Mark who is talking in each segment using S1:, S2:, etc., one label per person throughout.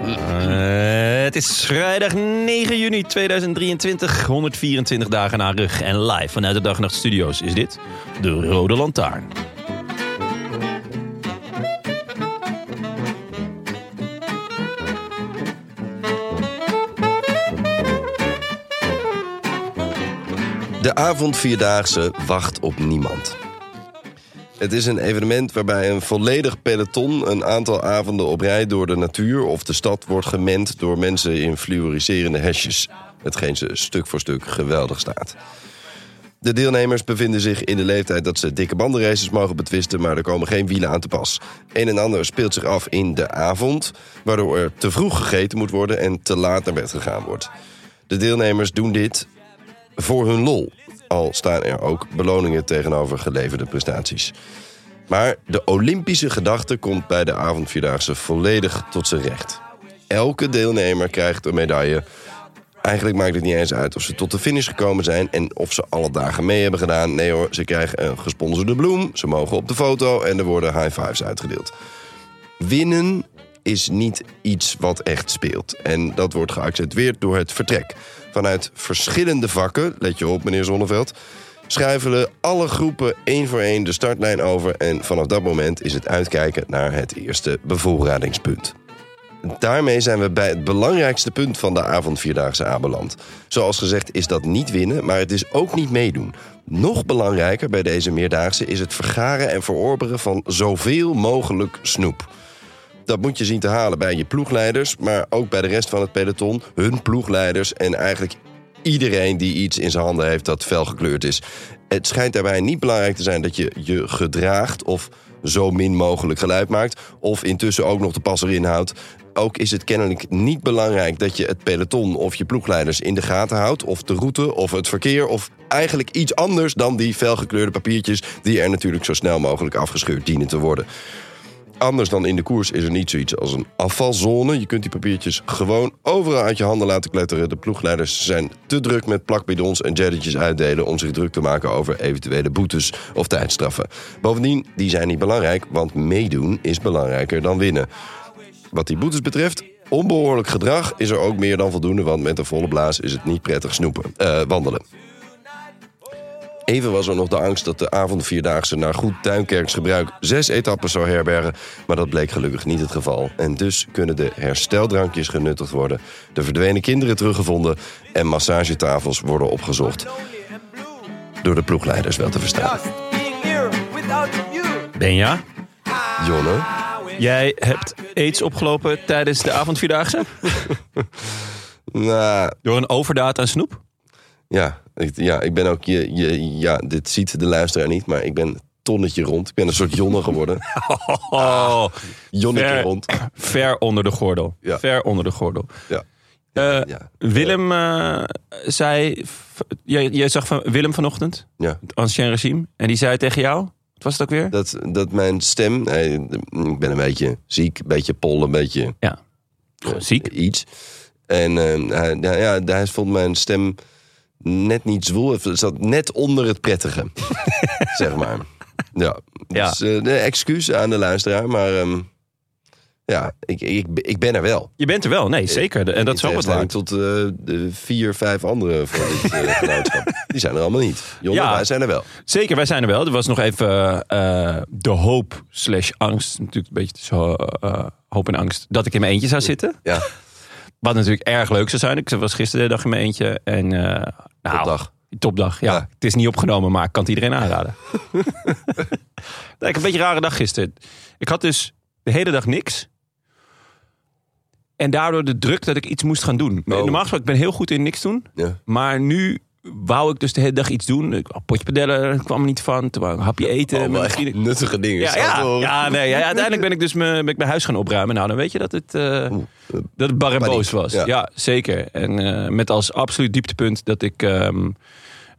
S1: Eh, het is vrijdag 9 juni 2023, 124 dagen na rug. En live vanuit de Dag en Nacht Studio's is dit de Rode Lantaarn.
S2: De avondvierdaagse wacht op niemand. Het is een evenement waarbij een volledig peloton een aantal avonden op rij door de natuur of de stad wordt gemend door mensen in fluoriserende hesjes. Hetgeen ze stuk voor stuk geweldig staat. De deelnemers bevinden zich in de leeftijd dat ze dikke bandenraces mogen betwisten, maar er komen geen wielen aan te pas. Een en ander speelt zich af in de avond, waardoor er te vroeg gegeten moet worden en te laat naar bed gegaan wordt. De deelnemers doen dit voor hun lol. Al staan er ook beloningen tegenover geleverde prestaties. Maar de Olympische gedachte komt bij de avondvierdaagse volledig tot zijn recht. Elke deelnemer krijgt een medaille. Eigenlijk maakt het niet eens uit of ze tot de finish gekomen zijn en of ze alle dagen mee hebben gedaan. Nee hoor, ze krijgen een gesponsorde bloem, ze mogen op de foto en er worden high fives uitgedeeld. Winnen is niet iets wat echt speelt. En dat wordt geaccentueerd door het vertrek. Vanuit verschillende vakken, let je op meneer Zonneveld... schuifelen alle groepen één voor één de startlijn over... en vanaf dat moment is het uitkijken naar het eerste bevoorradingspunt. Daarmee zijn we bij het belangrijkste punt van de avondvierdaagse aanbeland. Zoals gezegd is dat niet winnen, maar het is ook niet meedoen. Nog belangrijker bij deze meerdaagse is het vergaren en verorberen van zoveel mogelijk snoep. Dat moet je zien te halen bij je ploegleiders, maar ook bij de rest van het peloton, hun ploegleiders en eigenlijk iedereen die iets in zijn handen heeft dat fel gekleurd is. Het schijnt daarbij niet belangrijk te zijn dat je je gedraagt of zo min mogelijk geluid maakt, of intussen ook nog de passer inhoudt. Ook is het kennelijk niet belangrijk dat je het peloton of je ploegleiders in de gaten houdt, of de route of het verkeer, of eigenlijk iets anders dan die felgekleurde papiertjes die er natuurlijk zo snel mogelijk afgescheurd dienen te worden anders dan in de koers is er niet zoiets als een afvalzone. Je kunt die papiertjes gewoon overal uit je handen laten kletteren. De ploegleiders zijn te druk met plakbidons en jelletjes uitdelen om zich druk te maken over eventuele boetes of tijdstraffen. Bovendien, die zijn niet belangrijk, want meedoen is belangrijker dan winnen. Wat die boetes betreft, onbehoorlijk gedrag is er ook meer dan voldoende, want met een volle blaas is het niet prettig snoepen, eh, wandelen. Even was er nog de angst dat de avondvierdaagse naar goed Duinkerks gebruik zes etappes zou herbergen. Maar dat bleek gelukkig niet het geval. En dus kunnen de hersteldrankjes genuttigd worden, de verdwenen kinderen teruggevonden en massagetafels worden opgezocht. Door de ploegleiders wel te verstaan.
S3: Just being here without you.
S1: Benja,
S2: Jonne,
S1: jij hebt aids opgelopen tijdens de avondvierdaagse?
S2: nou
S1: Door een overdaad aan snoep?
S2: ja, ik, ja, ik ben ook, je, je, ja, dit ziet de luisteraar niet, maar ik ben een tonnetje rond. Ik ben een soort Jonne geworden.
S1: Oh,
S2: Jonnetje
S1: Ver.
S2: rond.
S1: ver onder de gordel.
S2: Ja.
S1: Ver onder de gordel.
S2: Ja.
S1: Eh,
S2: Ja.
S1: Willem eh, zei... v- Jij, jij zag van Willem vanochtend,
S2: Ja.
S1: het ancien regime. En die zei tegen jou... Wat was het ook weer?
S2: dat, dat mijn stem. eh, ik ben een beetje ziek, een beetje pol, een beetje
S1: Ja. Gewoon Ziek.
S2: iets. En eh, hij, ja, ja, hij vond mijn stem net niet zwoel. Het zat net onder het prettige, zeg maar. Ja.
S1: Ja.
S2: Dus eh, nee, excuus aan de luisteraar, maar ehm, ja, ik, ik, ik ben er wel.
S1: Je bent er wel, nee, zeker. En dat is ook wat
S2: waar.
S1: waard.
S2: Tot eh, de vier, vijf anderen van dit eh, genootschap. Die zijn er allemaal niet. Jongen,
S1: Ja.
S2: wij zijn er wel.
S1: Zeker, wij zijn er wel. Er was nog even eh, eh, de hoop slash angst. Natuurlijk een beetje zo, eh, hoop en angst. Dat ik in mijn eentje zou zitten.
S2: Ja,
S1: Wat natuurlijk erg leuk zou zijn. Ik was gisteren de dag in mijn eentje. En, eh nou,
S2: Topdag.
S1: Topdag, ja.
S2: Ja.
S1: Het is niet opgenomen, maar ik kan het iedereen aanraden. Nee, ik had een beetje een rare dag gisteren. Ik had dus de hele dag niks. En daardoor de druk dat ik iets moest gaan doen.
S2: Oh.
S1: Normaal gesproken, ik ben heel goed in niks doen.
S2: ja.
S1: Maar nu wou ik dus de hele dag iets doen. Ik- oh, Potje padellen kwam er niet van. Toen wou ik een hapje eten. met
S2: Allemaal
S1: mijn
S2: echt
S1: vrienden.
S2: nuttige dingen.
S1: Ja,
S2: staat te
S1: ja,
S2: horen.
S1: ja, nee, ja, ja, uiteindelijk ben ik dus mijn, ben ik mijn huis gaan opruimen. Nou, dan weet je dat het, eh, dat het bar en
S2: paniek.
S1: boos was.
S2: Ja.
S1: Ja, zeker. En eh, met als absoluut dieptepunt dat ik... ehm,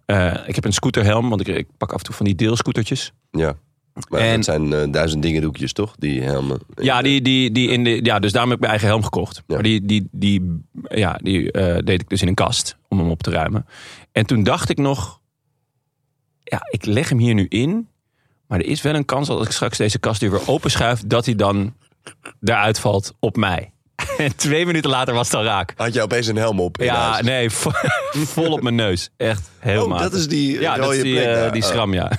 S1: eh, ik heb een scooterhelm, want ik, ik pak af en toe van die deelscootertjes.
S2: Ja. Maar
S1: En-
S2: dat zijn eh, duizend dingen doekjes, toch? Die helmen.
S1: Ja, die, die, die in de, ja, dus daarom heb ik mijn eigen helm gekocht.
S2: Ja.
S1: Maar die, die, die, ja, die eh, deed ik dus in een kast om hem op te ruimen. En toen dacht ik nog, ja, ik leg hem hier nu in. Maar er is wel een kans dat als ik straks deze kast hier weer openschuif, dat hij dan eruit valt op mij. En twee minuten later was het al raak.
S2: Had je opeens een helm op? in
S1: Ja,
S2: huis?
S1: nee, vo- vol op mijn neus. Echt heel
S2: Oh,
S1: matig.
S2: dat is die
S1: Ja, dat
S2: rode
S1: is die,
S2: plek
S1: eh,
S2: daar. Oh.
S1: die
S2: Ah.
S1: schram, ja.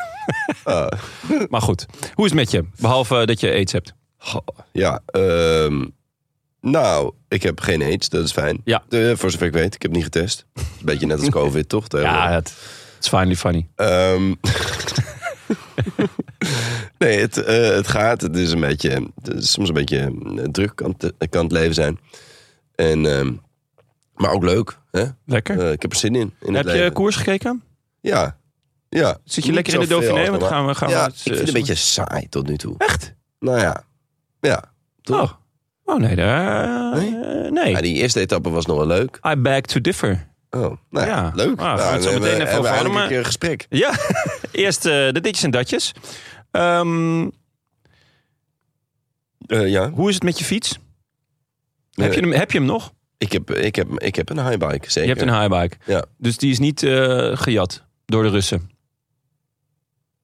S1: maar goed, hoe is het met je? Behalve dat je aids hebt.
S2: Goh, ja, ehm, nou, ik heb geen aids, dat is fijn.
S1: Ja.
S2: Eh, voor zover ik weet, ik heb niet getest. Beetje net als COVID, toch?
S1: Ja, het is finally funny.
S2: Ehm, nee, het, eh, het gaat. Het is een beetje, het is soms een beetje eh, druk kan het, kan het leven zijn. En, ehm, maar ook leuk. Hè?
S1: Lekker.
S2: Eh, ik heb er zin in. in
S1: Heb
S2: het
S1: je
S2: leven.
S1: koers gekeken?
S2: Ja. ja.
S1: Zit je
S2: Niet
S1: lekker in de
S2: zoveel,
S1: Dauphiné? Want
S2: maar-
S1: gaan we, eh, gaan
S2: ja,
S1: we
S2: ik vind het een beetje saai tot nu toe.
S1: Echt?
S2: Nou ja. Ja. toch?
S1: Oh. oh, nee. Daar,
S2: Nee?
S1: eh, nee.
S2: ja. Die eerste etappe was nog wel leuk.
S1: I beg to differ.
S2: Oh, nou ja,
S1: Ja.
S2: leuk.
S1: Ah, gaan we het zo
S2: dan
S1: meteen even
S2: hebben
S1: over
S2: we
S1: hebben,
S2: eigenlijk
S1: maar-
S2: een keer een gesprek.
S1: Ja, eerst eh, de ditjes en datjes. Ehm,
S2: Eh, ja,
S1: hoe is het met je fiets? Heb,
S2: Eh,
S1: je hem, heb je hem nog?
S2: ik heb, ik, heb, ik heb een highbike,
S1: Je
S2: zeker.
S1: hebt een highbike.
S2: Ja.
S1: Dus die is niet eh, gejat door de Russen.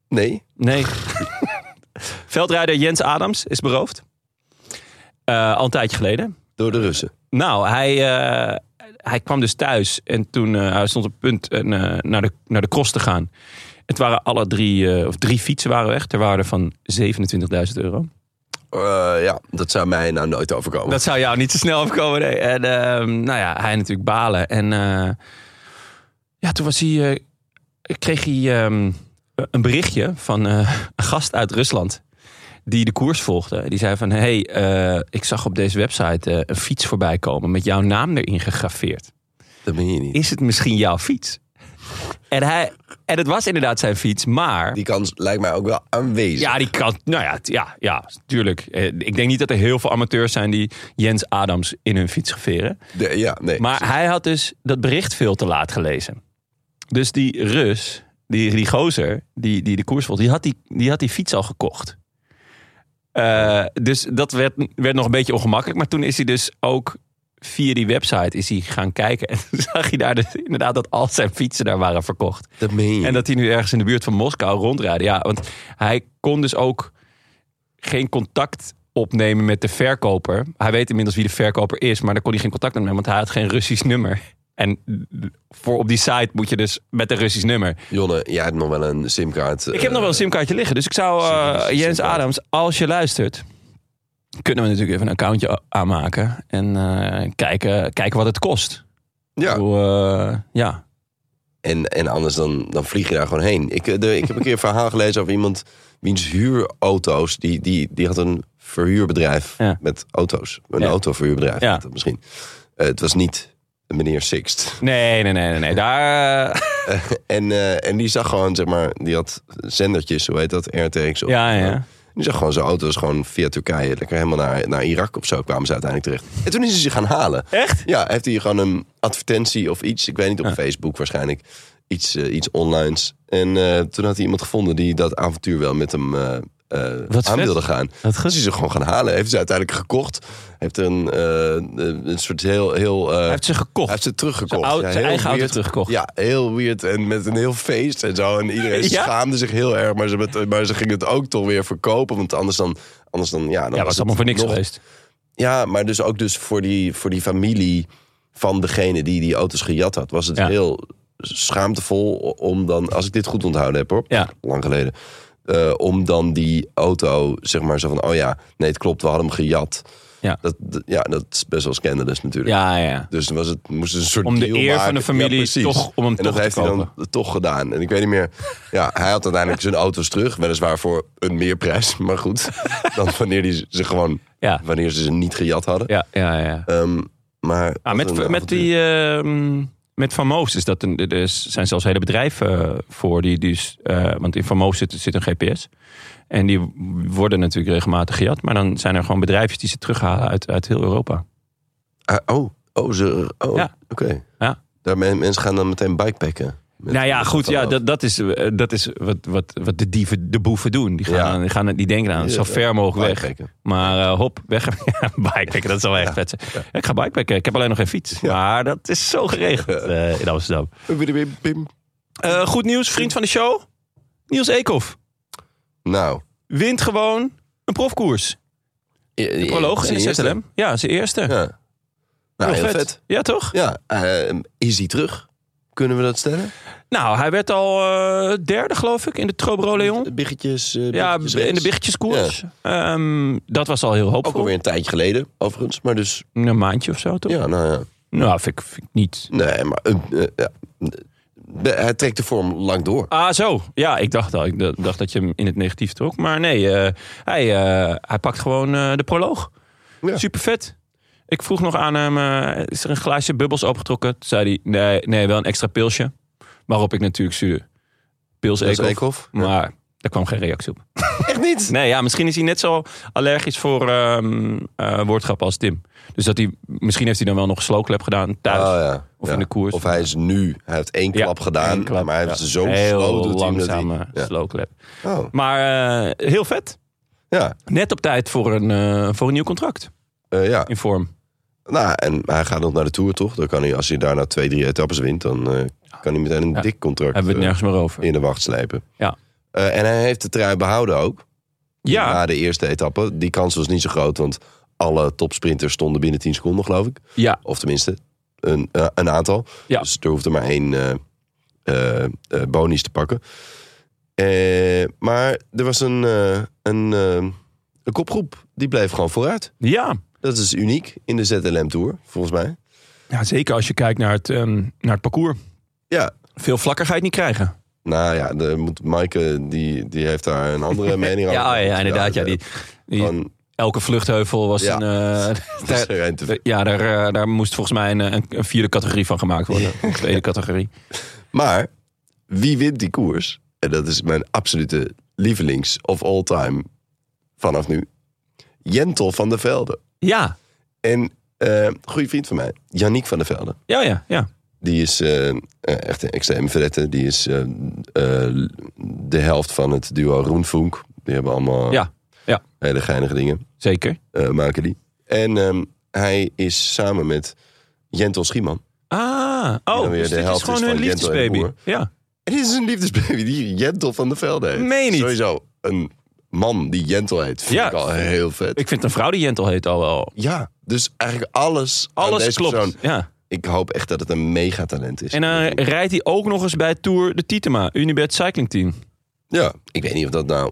S2: Nee,
S1: Nee. Veldrijder Jens Adams is beroofd. Eh, al een tijdje geleden.
S2: door de Russen.
S1: Nou, hij, eh, hij kwam dus thuis en toen eh, hij stond op het punt en, eh, naar, de, naar de cross te gaan. Het waren alle drie, eh, of drie fietsen waren weg, ter waarde van 27.000 euro.
S2: Eh, ja, dat zou mij nou nooit overkomen.
S1: Dat zou jou niet zo snel overkomen, nee. En ehm, nou ja, hij natuurlijk balen. En eh, ja, toen was hij, eh, kreeg hij ehm, een berichtje van eh, een gast uit Rusland. Die de koers volgde. Die zei van, hey, eh, ik zag op deze website eh, een fiets voorbij komen met jouw naam erin gegraveerd.
S2: Dat ben je niet.
S1: is het misschien jouw fiets? En, hij, en het was inderdaad zijn fiets, maar...
S2: Die kans lijkt mij ook wel aanwezig.
S1: ja, die kan... Nou ja, t- ja, ja, tuurlijk. Eh, Ik denk niet dat er heel veel amateurs zijn die Jens Adams in hun fiets geveren.
S2: De- ja nee.
S1: Maar hij had dus dat bericht veel te laat gelezen. Dus die Rus, die, die gozer, die, die de koers volgde, die had die, die had die fiets al gekocht. Eh, dus dat werd, werd nog een beetje ongemakkelijk. Maar toen is hij dus ook via die website is hij gaan kijken. En toen zag hij daar dus inderdaad dat al zijn fietsen daar waren verkocht.
S2: dat meen je niet.
S1: En dat hij nu ergens in de buurt van Moskou rondrijden. Ja, want hij kon dus ook geen contact opnemen met de verkoper. Hij weet inmiddels wie de verkoper is, maar daar kon hij geen contact mee, want hij had geen Russisch nummer. En voor op die site moet je dus met een Russisch nummer.
S2: Jonne, jij hebt nog wel een simkaart. eh,
S1: Ik heb nog wel een simkaartje liggen, dus ik zou eh,
S2: Russisch
S1: Jens
S2: simkaart.
S1: Adams, als je luistert, kunnen we natuurlijk even een accountje a- aanmaken en eh, kijken, kijken wat het kost.
S2: Ja,
S1: Hoe, eh, ja.
S2: en, en anders dan, dan vlieg je daar gewoon heen. Ik, eh, de, ik heb een keer een verhaal gelezen over iemand wiens huurauto's... Die, die, die had een verhuurbedrijf
S1: Ja.
S2: met auto's. Een
S1: Ja.
S2: autoverhuurbedrijf
S1: Ja.
S2: had het misschien. Eh, het was niet meneer Sixt.
S1: Nee, nee, nee, nee, nee. Daar.
S2: En, eh, en die zag gewoon, zeg maar, die had zendertjes, hoe heet dat, RTX. Of,
S1: Ja, ja.
S2: Die zag gewoon zijn auto's gewoon via Turkije, lekker helemaal naar, naar Irak of zo kwamen ze uiteindelijk terecht. En toen is hij ze gaan halen.
S1: Echt?
S2: Ja, heeft hij gewoon een advertentie of iets, ik weet niet, op Facebook waarschijnlijk. Iets, eh, iets onlines. En eh, toen had hij iemand gevonden die dat avontuur wel met hem eh, eh,
S1: Wat
S2: aan
S1: vet.
S2: wilde gaan.
S1: Wat
S2: Dus
S1: goed.
S2: is hij ze gewoon gaan halen. Heeft ze uiteindelijk gekocht. Heeft er een, eh, een soort heel... heel eh,
S1: Hij heeft ze
S2: hij heeft
S1: gekocht.
S2: ze teruggekocht.
S1: Zijn oude- zijn
S2: heel
S1: eigen auto
S2: weird.
S1: teruggekocht.
S2: Ja, heel weird. En met een heel feest en zo. En iedereen
S1: Ja?
S2: schaamde zich heel erg. Maar ze, met- maar ze gingen het ook toch weer verkopen. Want anders dan... Anders dan ja, dan
S1: Ja, was allemaal voor niks
S2: nog-
S1: geweest.
S2: Ja, maar dus ook dus voor die, voor die familie van degene die die auto's gejat had... was het
S1: Ja.
S2: heel schaamtevol om dan... Als ik dit goed onthouden heb hoor,
S1: Ja.
S2: lang geleden... eh, om dan die auto, zeg maar zo van... oh ja, nee, het klopt, we hadden hem gejat.
S1: Ja.
S2: Dat, dat- ja, dat is best wel scandalous natuurlijk.
S1: Ja, ja.
S2: Dus dan was het, moest het een soort
S1: Om de
S2: deal
S1: eer van
S2: maken.
S1: de familie
S2: precies.
S1: toch- om hem
S2: en
S1: toch
S2: dat
S1: te
S2: heeft hij dan toch gedaan. En ik weet niet meer. Ja, hij had uiteindelijk zijn auto's terug. Weliswaar voor een meerprijs. Maar goed. Dan wanneer, die ze gewoon,
S1: Ja.
S2: wanneer ze ze niet gejat hadden.
S1: Ja, ja, ja.
S2: Ehm, maar.
S1: Ah,
S2: wat
S1: met,
S2: een
S1: met, die, ehm, Met Van Moos is dat een, er zijn zelfs hele bedrijven voor die, die is, eh, want in Van Moos zit, zit een GPS. En die worden natuurlijk regelmatig gejat. Maar dan zijn er gewoon bedrijfjes die ze terughalen uit, uit heel Europa.
S2: Ah, oh, oh, ze, oh
S1: Ja.
S2: oké.
S1: Ja.
S2: Daar men- mensen gaan dan meteen bikepacken. Met-
S1: nou ja,
S2: met
S1: goed.
S2: Van
S1: Ja,
S2: Af.
S1: dat, dat is, eh, dat is wat, wat, wat de dieven, de boeven doen. Die, gaan,
S2: Ja.
S1: aan- die, gaan, die denken aan zo
S2: Ja,
S1: ver mogelijk weg.
S2: Bikepacken.
S1: Maar eh, hop, weg. Ja, bikepacken, dat is wel echt
S2: Ja,
S1: vet. zijn. Ik ga bikepacken. Ik heb alleen nog geen fiets. Maar dat is zo geregeld eh, in Amsterdam.
S2: Bim, bim.
S1: Eh, goed nieuws, vriend van de show. Niels Eekhoff
S2: Nou.
S1: wint gewoon een profkoers.
S2: De
S1: Proloog is in de ZLM. Ja, zijn eerste.
S2: Ja. Nou, heel vet.
S1: Ja, toch?
S2: Ja, eh, is hij terug? Kunnen we dat stellen?
S1: Nou, hij werd al eh, derde, geloof ik, in de Trobro Leon.
S2: De biggetjes. eh,
S1: Ja,
S2: biggetjes
S1: in de
S2: race.
S1: bichtjeskoers. Ehm, dat was al heel
S2: Ook
S1: hoopvol.
S2: alweer een tijdje geleden, overigens. Maar dus,
S1: Een maandje of zo, toch?
S2: ja, nou ja.
S1: Nou, vind ik, vind ik niet.
S2: Nee, maar eh, eh, ja. De- hij trekt de vorm lang door.
S1: Ah, zo. Ja, ik dacht al. Ik d- dacht dat je hem in het negatief trok. Maar nee, eh, hij, eh, hij pakt gewoon eh, de proloog.
S2: Ja.
S1: Super vet. Ik vroeg nog aan hem, eh, is er een glaasje bubbels opgetrokken? Toen zei hij, nee, nee, wel een extra pilsje. Waarop ik natuurlijk stuurde, pils
S2: Dat is
S1: Eekhof.
S2: Eekhof.
S1: Maar daar kwam geen reactie op.
S2: Echt niet?
S1: Nee, ja, misschien is hij net zo allergisch voor ehm eh, woordgrap als Tim. Dus dat hij, misschien heeft hij dan wel nog een slowclap gedaan thuis.
S2: Oh, ja.
S1: Of
S2: Ja.
S1: in de koers.
S2: Of hij is nu, hij heeft één
S1: Ja,
S2: klap gedaan,
S1: één klap,
S2: maar hij
S1: ja.
S2: heeft zo slow
S1: Heel
S2: dat hij-
S1: langzame
S2: Ja.
S1: slowclap.
S2: Oh,
S1: Maar eh, heel vet.
S2: ja.
S1: Net op tijd voor een, eh, voor een nieuw contract.
S2: Eh, ja.
S1: In vorm.
S2: Nou, en hij gaat nog naar de Tour, toch? Dan kan hij, als hij daarna twee, drie etappes wint, dan eh, kan hij meteen een
S1: Ja.
S2: dik contract
S1: Hebben we het
S2: eh,
S1: nergens meer over.
S2: in de wacht slijpen.
S1: Ja.
S2: Eh, en hij heeft de trui behouden ook.
S1: Ja,
S2: Na de eerste etappe. Die kans was niet zo groot, want alle topsprinters stonden binnen 10 seconden, geloof ik.
S1: ja.
S2: Of tenminste, een, eh, een aantal.
S1: Ja.
S2: Dus er hoefde maar één eh eh, eh, bonies te pakken. Eh, maar er was een, eh, een, eh, een kopgroep, die bleef gewoon vooruit.
S1: ja.
S2: Dat is uniek in de ZLM Tour, volgens mij.
S1: ja zeker als je kijkt naar het, ehm, naar het parcours.
S2: Ja,
S1: Veel vlakker ga je het niet krijgen.
S2: nou ja, de, moet, Maaike die, die heeft daar een andere mening over.
S1: Ja, ja inderdaad. Ja,
S2: eh,
S1: die, die-
S2: Gewoon,
S1: elke vluchtheuvel was
S2: Ja.
S1: een... eh,
S2: dat is
S1: daar,
S2: er een te veel.
S1: ja, daar, eh, daar moest volgens mij een, eh, een, een vierde categorie van gemaakt worden. Een tweede categorie.
S2: Maar wie wint die koers? En dat is mijn absolute lievelings of all time vanaf nu. Jentel van der Velde.
S1: Ja,
S2: En eh goede vriend van mij, Yannick van der Velde.
S1: ja, ja. ja.
S2: Die is eh, eh, echt een extreem verrette. Die is eh, eh, de helft van het duo Roenfunk. Die hebben allemaal
S1: Ja, ja.
S2: hele geinige dingen
S1: Zeker.
S2: eh, maken die. En ehm, hij is samen met Jentel Schieman.
S1: Ah,
S2: dan
S1: oh,
S2: weer
S1: dus
S2: de
S1: dit
S2: helft
S1: is
S2: is
S1: gewoon
S2: van
S1: hun
S2: Jentel en
S1: liefdesbaby.
S2: Boer.
S1: Ja,
S2: En dit is een liefdesbaby die Jentel van der Velde heet.
S1: Meen je niet?
S2: Sowieso een man die Jentel heet. Vind
S1: Ja.
S2: ik al heel vet.
S1: ik vind een vrouw die Jentel heet al wel.
S2: Ja, dus eigenlijk alles, aan
S1: Alles
S2: deze
S1: klopt.
S2: persoon.
S1: Ja.
S2: Ik hoop echt dat het een megatalent is.
S1: En eh, dan rijdt hij ook nog eens bij Tour de Titema, Unibet Cycling Team.
S2: Ja, ik weet niet of dat nou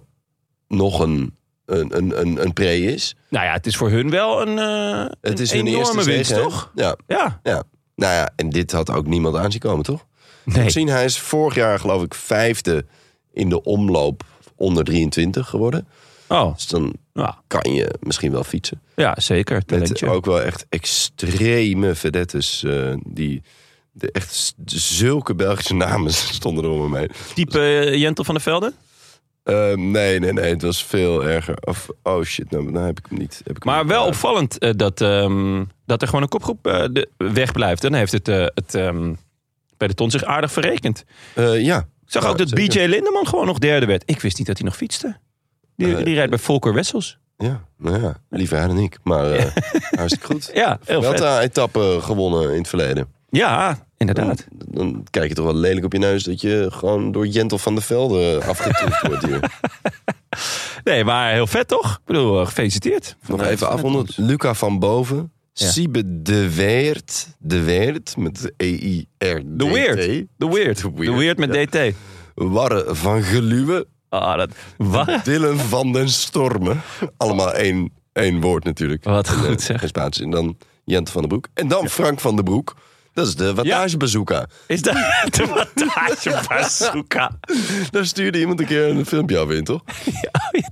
S2: nog een, een, een, een, een pre is.
S1: Nou ja, het is voor hun wel een, eh,
S2: Het is
S1: een
S2: hun
S1: enorme
S2: eerste
S1: winst,
S2: zege, hè?
S1: toch?
S2: Ja,
S1: Ja.
S2: ja. Nou ja, en dit had ook niemand aanzien komen, toch?
S1: Nee.
S2: Misschien, hij is vorig jaar geloof ik vijfde in de omloop onder 23 geworden.
S1: Oh,
S2: Dus dan
S1: ja,
S2: kan je misschien wel fietsen.
S1: ja zeker.
S2: Met
S1: Talentje.
S2: ook wel echt extreme vedettes eh, die... De, echt s- zulke Belgische namen stonden er om me heen.
S1: Type eh, Jentel van der Velde.
S2: Eh, nee, nee, nee, het was veel erger. Of, oh shit, nou, nou heb ik hem niet. Heb ik hem
S1: Maar
S2: niet.
S1: wel opvallend eh, dat, ehm, dat er gewoon een kopgroep eh, de- wegblijft. Dan heeft het, eh, het ehm, peloton zich aardig verrekend.
S2: Eh, ja.
S1: Ik zag
S2: Ja,
S1: ook dat
S2: zeker.
S1: BJ Lindeman gewoon nog derde werd. Ik wist niet dat hij nog fietste. Die,
S2: Eh,
S1: die rijdt bij Volker Wessels.
S2: Ja, nou ja, liever hij dan ik. Maar eh hartstikke goed.
S1: Ja, heel
S2: Wel
S1: vet.
S2: een etappe gewonnen in het verleden.
S1: Ja, inderdaad.
S2: Dan, dan kijk je toch wel lelijk op je neus dat je gewoon door Jentel van der Velde afgetroefd wordt hier.
S1: Nee, maar heel vet toch? Ik bedoel, eh, gefeliciteerd.
S2: Nog even afronden. Luca van Boven.
S1: Ja.
S2: Siebe de Weert. De Weert met E E-I-R-D-T.
S1: The Weird. The Weird.
S2: The
S1: The
S2: Weird,
S1: Weird, met DT.
S2: Warre van Geluwe.
S1: Ah, dat... Wat?
S2: Dylan van den Stormen. Allemaal één, één woord natuurlijk.
S1: Wat goed
S2: Geen
S1: zeg.
S2: spatie. En dan Jente van den Broek. En dan Frank van den Broek. Dat is de wattagebezoeker.
S1: Is dat de wattage bazooka?
S2: Daar stuurde iemand een keer een filmpje over in, toch?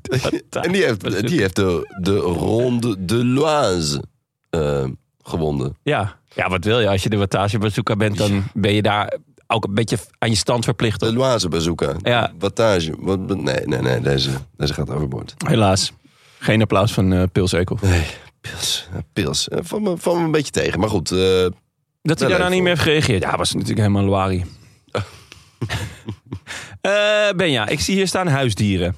S1: De wattage-
S2: En die heeft, die heeft de, de Ronde de Loise eh, gewonden.
S1: Ja. ja, wat wil je? Als je de Watage Bazooka bent, dan ben je daar ook een beetje aan je stand verplicht.
S2: De Loise bazooka.
S1: Ja.
S2: Wattage. Wat, nee, nee, nee. Deze, deze gaat overboord.
S1: Helaas. Geen applaus van eh Pils Ekel.
S2: Nee, pils. eh, Pils. Eh, Valt me, valt me een beetje tegen. Maar goed, eh,
S1: Dat hij
S2: Wel
S1: daar nou
S2: leuk
S1: niet meer heeft gereageerd. Ja, was natuurlijk helemaal lawaai. Eh Benja, ik zie hier staan huisdieren.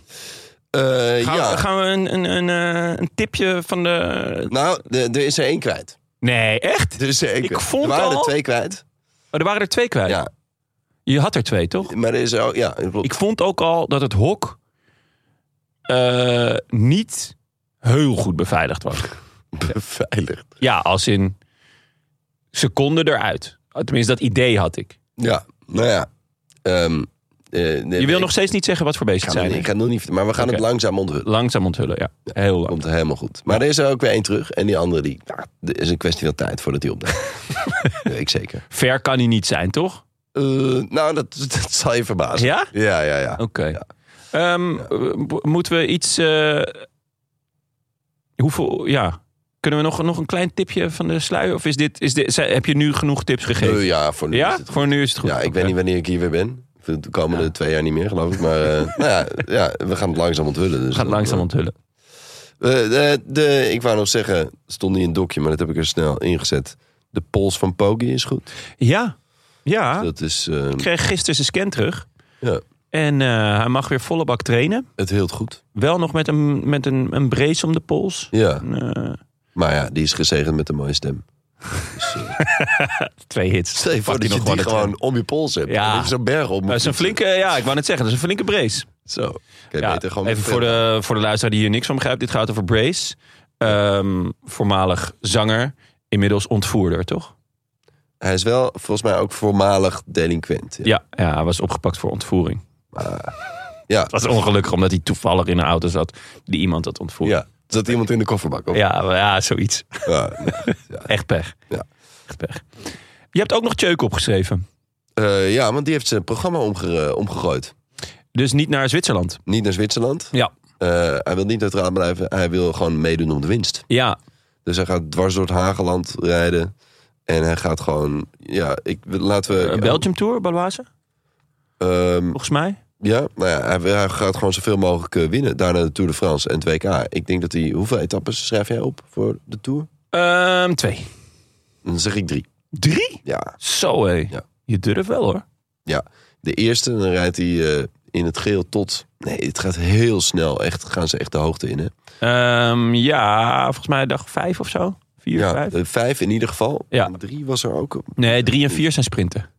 S2: eh,
S1: Gaan,
S2: ja.
S1: we- gaan we een, een, een, eh, een tipje van de...
S2: Nou, de- er is er één kwijt.
S1: Nee, echt?
S2: Er is er één
S1: Ik
S2: kwijt.
S1: vond
S2: er waren
S1: al-
S2: er twee kwijt.
S1: Oh, er waren er twee kwijt.
S2: Ja,
S1: Je had er twee, toch?
S2: maar er is er ook... Ja, klopt.
S1: Ik vond ook al dat het hok eh, niet heel goed beveiligd was.
S2: beveiligd.
S1: Ja, als in seconden eruit. Tenminste, dat idee had ik.
S2: Ja, nou ja. Ehm, eh, nee,
S1: Je
S2: nee,
S1: wil nog steeds niet zeggen wat voor
S2: Ik
S1: beesten
S2: ga,
S1: het
S2: het,
S1: zijn.
S2: ik ga het nog niet... Maar we gaan
S1: Oké.
S2: het langzaam onthullen.
S1: Langzaam onthullen, ja. Heel lang.
S2: Komt helemaal goed. Maar er is er ook weer één terug. En die andere, die... Nou, er is een kwestie van tijd voordat die opdaagt. Weet ik zeker.
S1: Ver kan hij niet zijn, toch?
S2: Eh, nou, dat, dat zal je verbazen.
S1: Ja?
S2: Ja, ja, ja.
S1: Oké. Ehm, w- Moeten we iets... eh, hoeveel... Ja. Kunnen we nog, nog een klein tipje van de sluier? Of is dit, is dit, zijn- heb je nu genoeg tips gegeven?
S2: Eh, ja, voor nu is
S1: ja?
S2: het
S1: Voor nu is het goed.
S2: Ja, ik
S1: Oké.
S2: weet niet wanneer ik hier weer ben. De komende twee jaar niet meer, geloof ik. Maar eh, nou ja, ja, we gaan het langzaam onthullen. Dus
S1: We gaan het langzaam
S2: dan,
S1: onthullen.
S2: eh, de, de- ik wou nog zeggen, er stond niet in het dokje, maar dat heb ik er snel ingezet. De pols van Pogi is goed.
S1: Ja. Ja.
S2: Dat is, eh,
S1: Ik kreeg gisteren zijn scan terug.
S2: ja,
S1: En eh, hij mag weer volle bak trainen.
S2: het heelt goed.
S1: Wel nog met een, met een, een brace om de pols.
S2: Ja,
S1: Een, eh,
S2: maar ja, die is gezegend met een mooie stem. Dus, eh,
S1: twee hits.
S2: stel je voor
S1: Pakt
S2: dat
S1: hij
S2: je die
S1: de
S2: gewoon
S1: trein.
S2: om je pols hebt.
S1: Ja.
S2: Ja. Dat je zo'n berg op moet
S1: Dat is een
S2: fietsen.
S1: flinke, ja, ik wou net zeggen, dat is een flinke brace.
S2: Zo, kan je
S1: Ja,
S2: beter gewoon
S1: even
S2: met-
S1: voor de, voor de luisteraar die hier niks van begrijpt. Dit gaat over Brace. Ehm, voormalig zanger, inmiddels ontvoerder, toch?
S2: Hij is wel volgens mij ook voormalig delinquent. Ja,
S1: Ja, ja hij was opgepakt voor ontvoering.
S2: ja.
S1: Het was ongelukkig omdat hij toevallig in een auto zat die iemand had ontvoerd.
S2: ja. Zat iemand in de kofferbak? Of?
S1: ja, maar ja, zoiets.
S2: Ja, nee, ja.
S1: Echt pech.
S2: Ja.
S1: Echt pech. Je hebt ook nog Tjeuk opgeschreven.
S2: Eh, ja, want die heeft zijn programma omge- omgegooid.
S1: Dus niet naar Zwitserland.
S2: Niet naar Zwitserland.
S1: Ja.
S2: Eh, hij wil niet neutraal blijven. Hij wil gewoon meedoen om de winst.
S1: Ja,
S2: Dus hij gaat dwars door het Hageland rijden. En hij gaat gewoon... Ja, ik, laten we...
S1: eh, Belgium Tour, Baloise,
S2: Ehm,
S1: volgens mij.
S2: ja, nou ja, hij, hij gaat gewoon zoveel mogelijk eh, winnen. Daarna de Tour de France en 2K. Ik denk dat hij... Hoeveel etappes schrijf jij op voor de Tour?
S1: Ehm, twee.
S2: Dan zeg ik drie.
S1: Drie?
S2: Ja,
S1: Zo hé.
S2: Ja.
S1: Je durft wel hoor.
S2: ja. De eerste, dan rijdt hij eh, in het geel tot... Nee, het gaat heel snel. Echt, gaan ze echt de hoogte in, hè?
S1: Ehm, ja, volgens mij dag vijf of zo. Vier,
S2: Ja,
S1: vijf.
S2: eh, vijf in ieder geval.
S1: Ja.
S2: En drie was er ook. Oké.
S1: Nee, drie en vier zijn sprinten.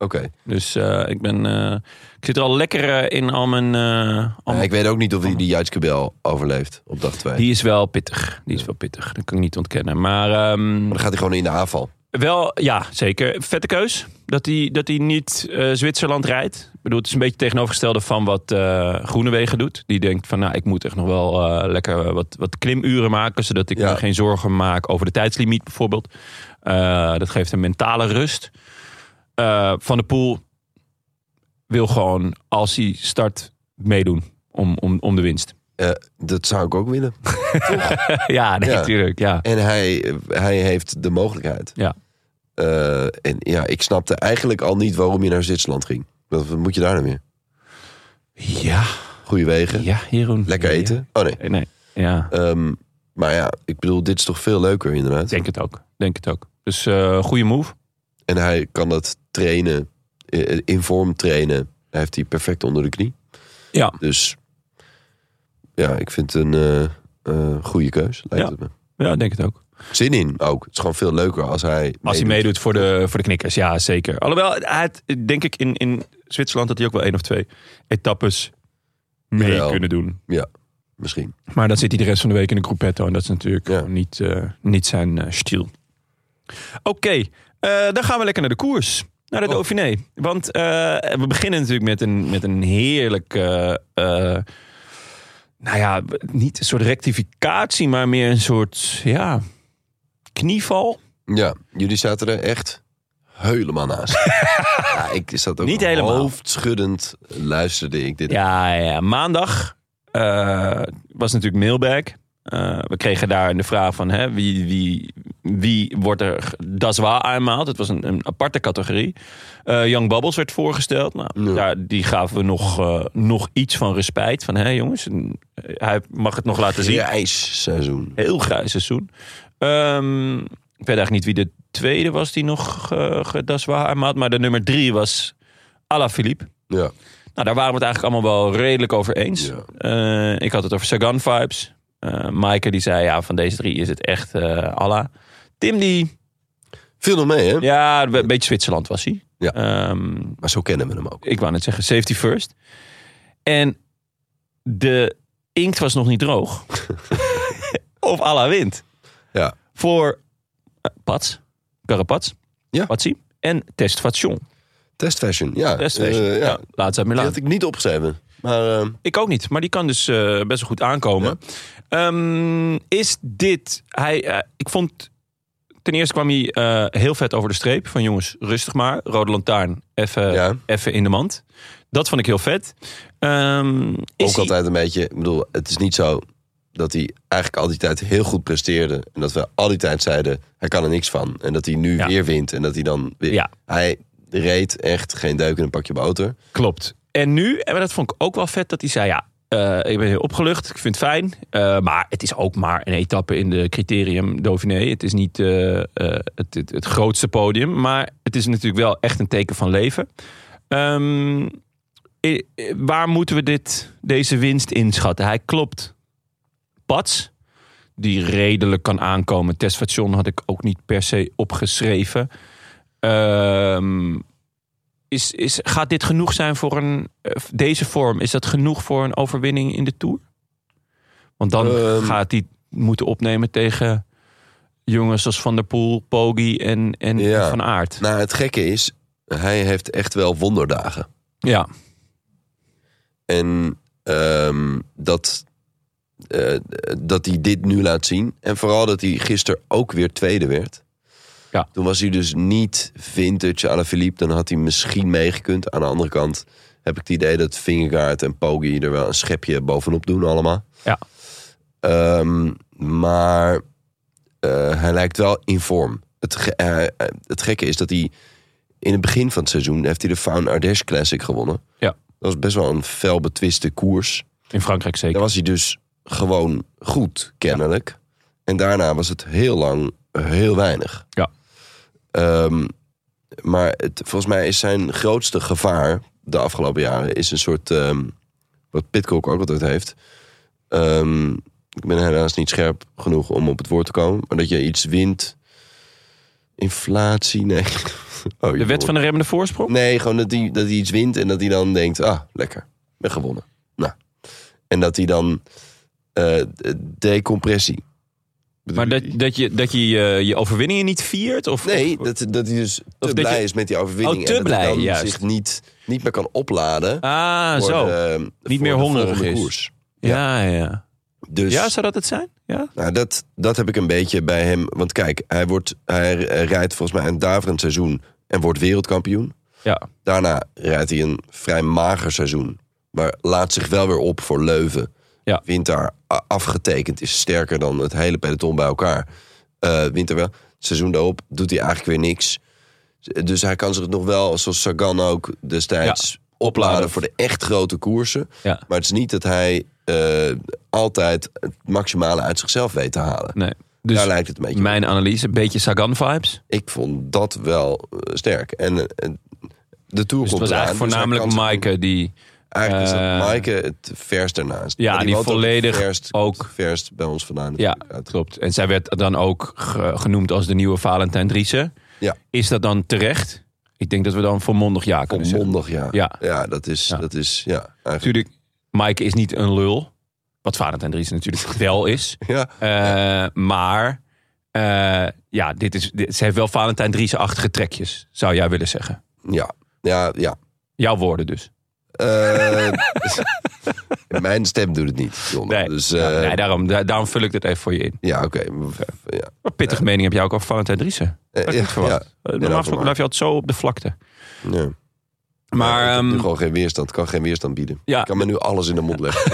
S1: Dus eh, ik ben... eh, ik zit er al lekker eh, in al mijn... eh, al
S2: Nou,
S1: mijn-
S2: ik weet ook niet of hij die Jijtske Bel overleeft op dag twee.
S1: Die is wel pittig. Die is wel pittig. Dat kan ik niet ontkennen. Maar ehm,
S2: Maar dan gaat hij gewoon in de aanval.
S1: wel, ja, zeker. Vette keus. Dat hij, dat hij niet eh, Zwitserland rijdt. Ik bedoel, het is een beetje tegenovergestelde van wat eh, Groenewegen doet. Die denkt van, nou, ik moet echt nog wel eh, lekker wat, wat klimuren maken. Zodat ik
S2: Ja.
S1: me geen zorgen maak over de tijdslimiet bijvoorbeeld. Eh, dat geeft een mentale rust. Eh, van de Poel wil gewoon, als hij start, meedoen om, om, om de winst.
S2: Eh, dat zou ik ook willen.
S1: ja, nee,
S2: Ja.
S1: natuurlijk. Ja.
S2: En hij, hij heeft de mogelijkheid.
S1: Ja.
S2: Eh, en ja, ik snapte eigenlijk al niet waarom je naar Zwitserland ging. Wat wat moet je daar nou weer?
S1: ja,
S2: Goede wegen,
S1: ja, Jeroen.
S2: lekker
S1: Ja.
S2: eten. Oh nee.
S1: Nee, ja.
S2: Ehm, maar ja, ik bedoel, dit is toch veel leuker inderdaad.
S1: Ik Denk het ook. Denk het ook. Dus eh goede move.
S2: En hij kan dat trainen, eh, in vorm trainen. Hij heeft die perfect onder de knie.
S1: Ja.
S2: Dus ja, ik vind het een eh, eh, goede keus, lijkt
S1: Ja.
S2: het me.
S1: Ja, denk het ook.
S2: Zin in ook. Het is gewoon veel leuker als hij
S1: Als hij
S2: meedoet.
S1: meedoet voor de, voor de knikkers, ja zeker. Alhoewel, hij had, denk ik in, in Zwitserland dat hij ook wel één of twee etappes mee
S2: Jawel.
S1: kunnen doen.
S2: Misschien.
S1: Maar dan zit hij de rest van de week in de groepetto. En dat is natuurlijk
S2: Ja.
S1: gewoon niet, eh, niet zijn eh stil. Oké, eh, dan gaan we lekker naar de koers. Naar de
S2: Oh.
S1: Dauphiné. Want eh, we beginnen natuurlijk met een, met een heerlijk... eh, eh, nou ja, niet een soort rectificatie, maar meer een soort ja, knieval.
S2: Ja, jullie zaten er echt helemaal naast. ja, ik zat ook
S1: Niet helemaal.
S2: hoofdschuddend luisterde ik dit.
S1: Ja, ja maandag eh, was natuurlijk mailbag. Eh, eh, we kregen daar de vraag van hè, wie, wie, wie wordt er g- das war aanmaald. Het was een, een aparte categorie. Eh Young Bubbles werd voorgesteld. Nou,
S2: Ja.
S1: daar, die gaven we nog, eh, nog iets van respijt. Van hé jongens, een- hij mag het nog laten zien.
S2: ijsseizoen.
S1: Heel grijs seizoen. Ehm, ik weet eigenlijk niet wie de tweede was die nog eh, gedas waar aanmaalt. Maar de nummer drie was Ala Philippe.
S2: Ja.
S1: Nou, daar waren we het eigenlijk allemaal wel redelijk over eens.
S2: Ja.
S1: Eh, ik had het over Sagan vibes. Eh Maaike die zei, ja, van deze drie is het echt eh Allah. Tim die,
S2: Viel nog mee, hè?
S1: ja, een beetje Zwitserland was hij.
S2: Ja.
S1: Ehm,
S2: Maar zo kennen we hem ook.
S1: ik wou net zeggen, safety first. En de inkt was nog niet droog. of Allah wint.
S2: Ja.
S1: Voor eh, Pats, Carapats,
S2: Ja.
S1: Patsi en Test Fashion.
S2: Test fashion, ja.
S1: Test Fashion,
S2: Eh, ja.
S1: ja, laatst uit
S2: Die
S1: Milaan.
S2: had ik niet opgeschreven. Maar eh,
S1: Ik ook niet, maar die kan dus eh, best wel goed aankomen. Ehm, is dit... Hij, eh, ik vond... Ten eerste kwam hij eh, heel vet over de streep. Van jongens, rustig maar. Rode lantaarn, even
S2: Ja.
S1: even in de mand. Dat vond ik heel vet. Ehm, is
S2: ook
S1: hij-
S2: altijd een beetje... Ik bedoel, het is niet zo dat hij eigenlijk al die tijd heel goed presteerde. En dat we al die tijd zeiden, hij kan er niks van. En dat hij nu
S1: Ja.
S2: weer wint. En dat hij dan weer...
S1: Ja.
S2: Hij reed echt geen duik in een pakje boter.
S1: Klopt. En nu, en dat vond ik ook wel vet, dat hij zei: Ja, eh, ik ben heel opgelucht, ik vind het fijn. eh, maar het is ook maar een etappe in de criterium Dauphiné. Het is niet eh, eh, het, het, het grootste podium, maar het is natuurlijk wel echt een teken van leven. Ehm, eh, eh, waar moeten we dit, deze winst inschatten? Hij klopt. Pats, die redelijk kan aankomen. Testation had ik ook niet per se opgeschreven. Ehm is, is, gaat dit genoeg zijn voor een, eh, deze vorm? Is dat genoeg voor een overwinning in de Tour? Want dan
S2: Ehm.
S1: gaat hij moeten opnemen tegen jongens als Van der Poel, Poggi en, en
S2: Ja.
S1: Van Aert.
S2: Nou, het gekke is, hij heeft echt wel wonderdagen.
S1: Ja,
S2: En ehm, dat, eh, dat hij dit nu laat zien. En vooral dat hij gisteren ook weer tweede werd.
S1: Ja.
S2: Toen was hij dus niet vintage à la Philippe. Dan had hij misschien meegekund. Aan de andere kant heb ik het idee dat Vingegaard en Poggi er wel een schepje bovenop doen allemaal.
S1: Ja.
S2: Ehm, maar eh, hij lijkt wel in vorm. Het, ge- eh, eh, het gekke is dat hij in het begin van het seizoen... heeft hij de Found Ardèche Classic gewonnen.
S1: Ja.
S2: Dat was best wel een fel betwiste koers.
S1: in Frankrijk zeker.
S2: Daar was hij dus gewoon goed, kennelijk. En daarna was het heel lang heel weinig.
S1: Ja.
S2: Ehm, maar het, volgens mij is zijn grootste gevaar de afgelopen jaren... is een soort, ehm, wat Pitcock ook altijd heeft... Ehm, ik ben helaas niet scherp genoeg om op het woord te komen... maar dat je iets wint... Inflatie, nee. Oh,
S1: De wet
S2: joh.
S1: van de remmende voorsprong?
S2: Nee, gewoon dat hij, dat hij iets wint en dat hij dan denkt: ah, lekker, ik ben gewonnen. Nou. En dat hij dan eh, d- decompressie.
S1: Maar dat, dat je dat je, eh, je overwinningen niet viert? Of,
S2: Nee,
S1: of-
S2: dat, dat hij dus te
S1: dat
S2: blij
S1: je-
S2: is met die overwinning.
S1: Oh, te
S2: en dat hij
S1: blij,
S2: dan
S1: juist.
S2: zich niet, niet meer kan opladen.
S1: ah,
S2: voor
S1: zo.
S2: de- voor
S1: meer
S2: de
S1: hongerig
S2: volgende
S1: is.
S2: Koers.
S1: ja, ja.
S2: Dus
S1: Ja, zou dat het zijn? Ja.
S2: Nou, dat, dat heb ik een beetje bij hem. Want kijk, hij, wordt, hij eh, rijdt volgens mij een daverend seizoen en wordt wereldkampioen.
S1: Ja.
S2: Daarna rijdt hij een vrij mager seizoen. Maar laat zich wel weer op voor Leuven.
S1: Ja.
S2: Wint daar a- afgetekend, is sterker dan het hele peloton bij elkaar. Eh wint er wel. Het seizoen daarop doet hij eigenlijk weer niks. Dus hij kan zich nog wel, zoals Sagan ook destijds, opladen
S1: opladen.
S2: voor de echt grote koersen.
S1: Ja.
S2: Maar het is niet dat hij eh, altijd het maximale uit zichzelf weet te halen.
S1: Nee. Dus
S2: daar lijkt het een beetje op.
S1: mijn analyse, een beetje Sagan-vibes.
S2: Ik vond dat wel eh, sterk. En eh, de Tour
S1: Dus het
S2: komt
S1: was
S2: eraan,
S1: eigenlijk
S2: dus hij
S1: voornamelijk
S2: kan zich-
S1: Maaike die...
S2: Eigenlijk is dat
S1: Eh,
S2: Maaike het verst daarnaast.
S1: Ja,
S2: Maar
S1: die
S2: woont
S1: volledig
S2: het verst,
S1: ook-
S2: het verst bij ons vandaan.
S1: Ja,
S2: natuurlijk uit.
S1: klopt. En zij werd dan ook ge- genoemd als de nieuwe Valentijn Driessen.
S2: Ja.
S1: Is dat dan terecht? Ik denk dat we dan volmondig ja kunnen zeggen.
S2: Volmondig, ja.
S1: Ja.
S2: dat is,
S1: Ja.
S2: dat is, ja, eigenlijk.
S1: Natuurlijk, Maaike is niet een lul. Wat Valentijn Driessen natuurlijk wel is.
S2: Ja,
S1: Eh, Maar eh, ja, dit is, dit- ze heeft wel Valentijn Driessen-achtige trekjes, zou jij willen zeggen.
S2: ja, ja, ja.
S1: Jouw woorden dus.
S2: Eh, mijn stem doet het niet, Jonne.
S1: Nee,
S2: Dus,
S1: Ja,
S2: eh,
S1: nee daarom, da- daarom vul ik dit even voor je in.
S2: Ja, oké. Ja.
S1: Wat pittige mening heb jij ook over Valentijn Driessen.
S2: Eh,
S1: Dat had ik
S2: ja,
S1: niet verwacht.
S2: ja.
S1: Eh, Normaal gesproken
S2: maar.
S1: blijf je altijd zo op de vlakte.
S2: Ja.
S1: Maar
S2: ik heb nu
S1: ehm,
S2: gewoon geen weerstand. Kan geen weerstand bieden.
S1: ja,
S2: Ik kan me nu alles in de mond leggen.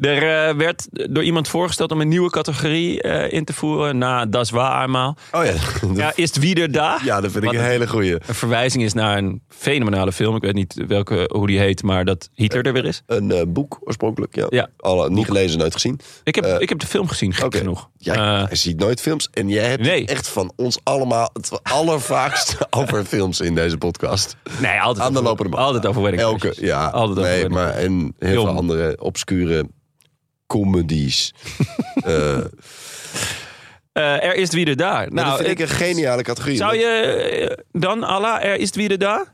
S1: Er eh, werd door iemand voorgesteld om een nieuwe categorie eh, in te voeren. Na Das war eenmaal.
S2: Oh ja, dat-
S1: Ja, is het wieder da?
S2: ja dat vind ik
S1: Wat
S2: een hele goeie.
S1: Een verwijzing is naar een fenomenale film. Ik weet niet welke, hoe die heet, maar dat Hitler er weer is.
S2: Een eh, boek oorspronkelijk, ja.
S1: Ja.
S2: Alle, niet gelezen, nooit gezien.
S1: Ik heb,
S2: Eh,
S1: ik heb de film gezien, gek
S2: oké.
S1: genoeg.
S2: Jij
S1: Eh,
S2: jij ziet nooit films en jij hebt
S1: nee.
S2: echt van ons allemaal het allervaakste over films in deze podcast.
S1: nee, altijd
S2: Aan de
S1: over-
S2: lopende band.
S1: Altijd over wedding
S2: Elke,
S1: crashes.
S2: ja.
S1: Altijd over
S2: nee,
S1: wedding
S2: maar en heel
S1: Film.
S2: veel andere obscure comedies. Eh,
S1: Eh, er is wieder da. Nou,
S2: nou, dat vind
S1: eh,
S2: ik een geniale categorie.
S1: Zou je eh, dan, Allah, er is wieder da?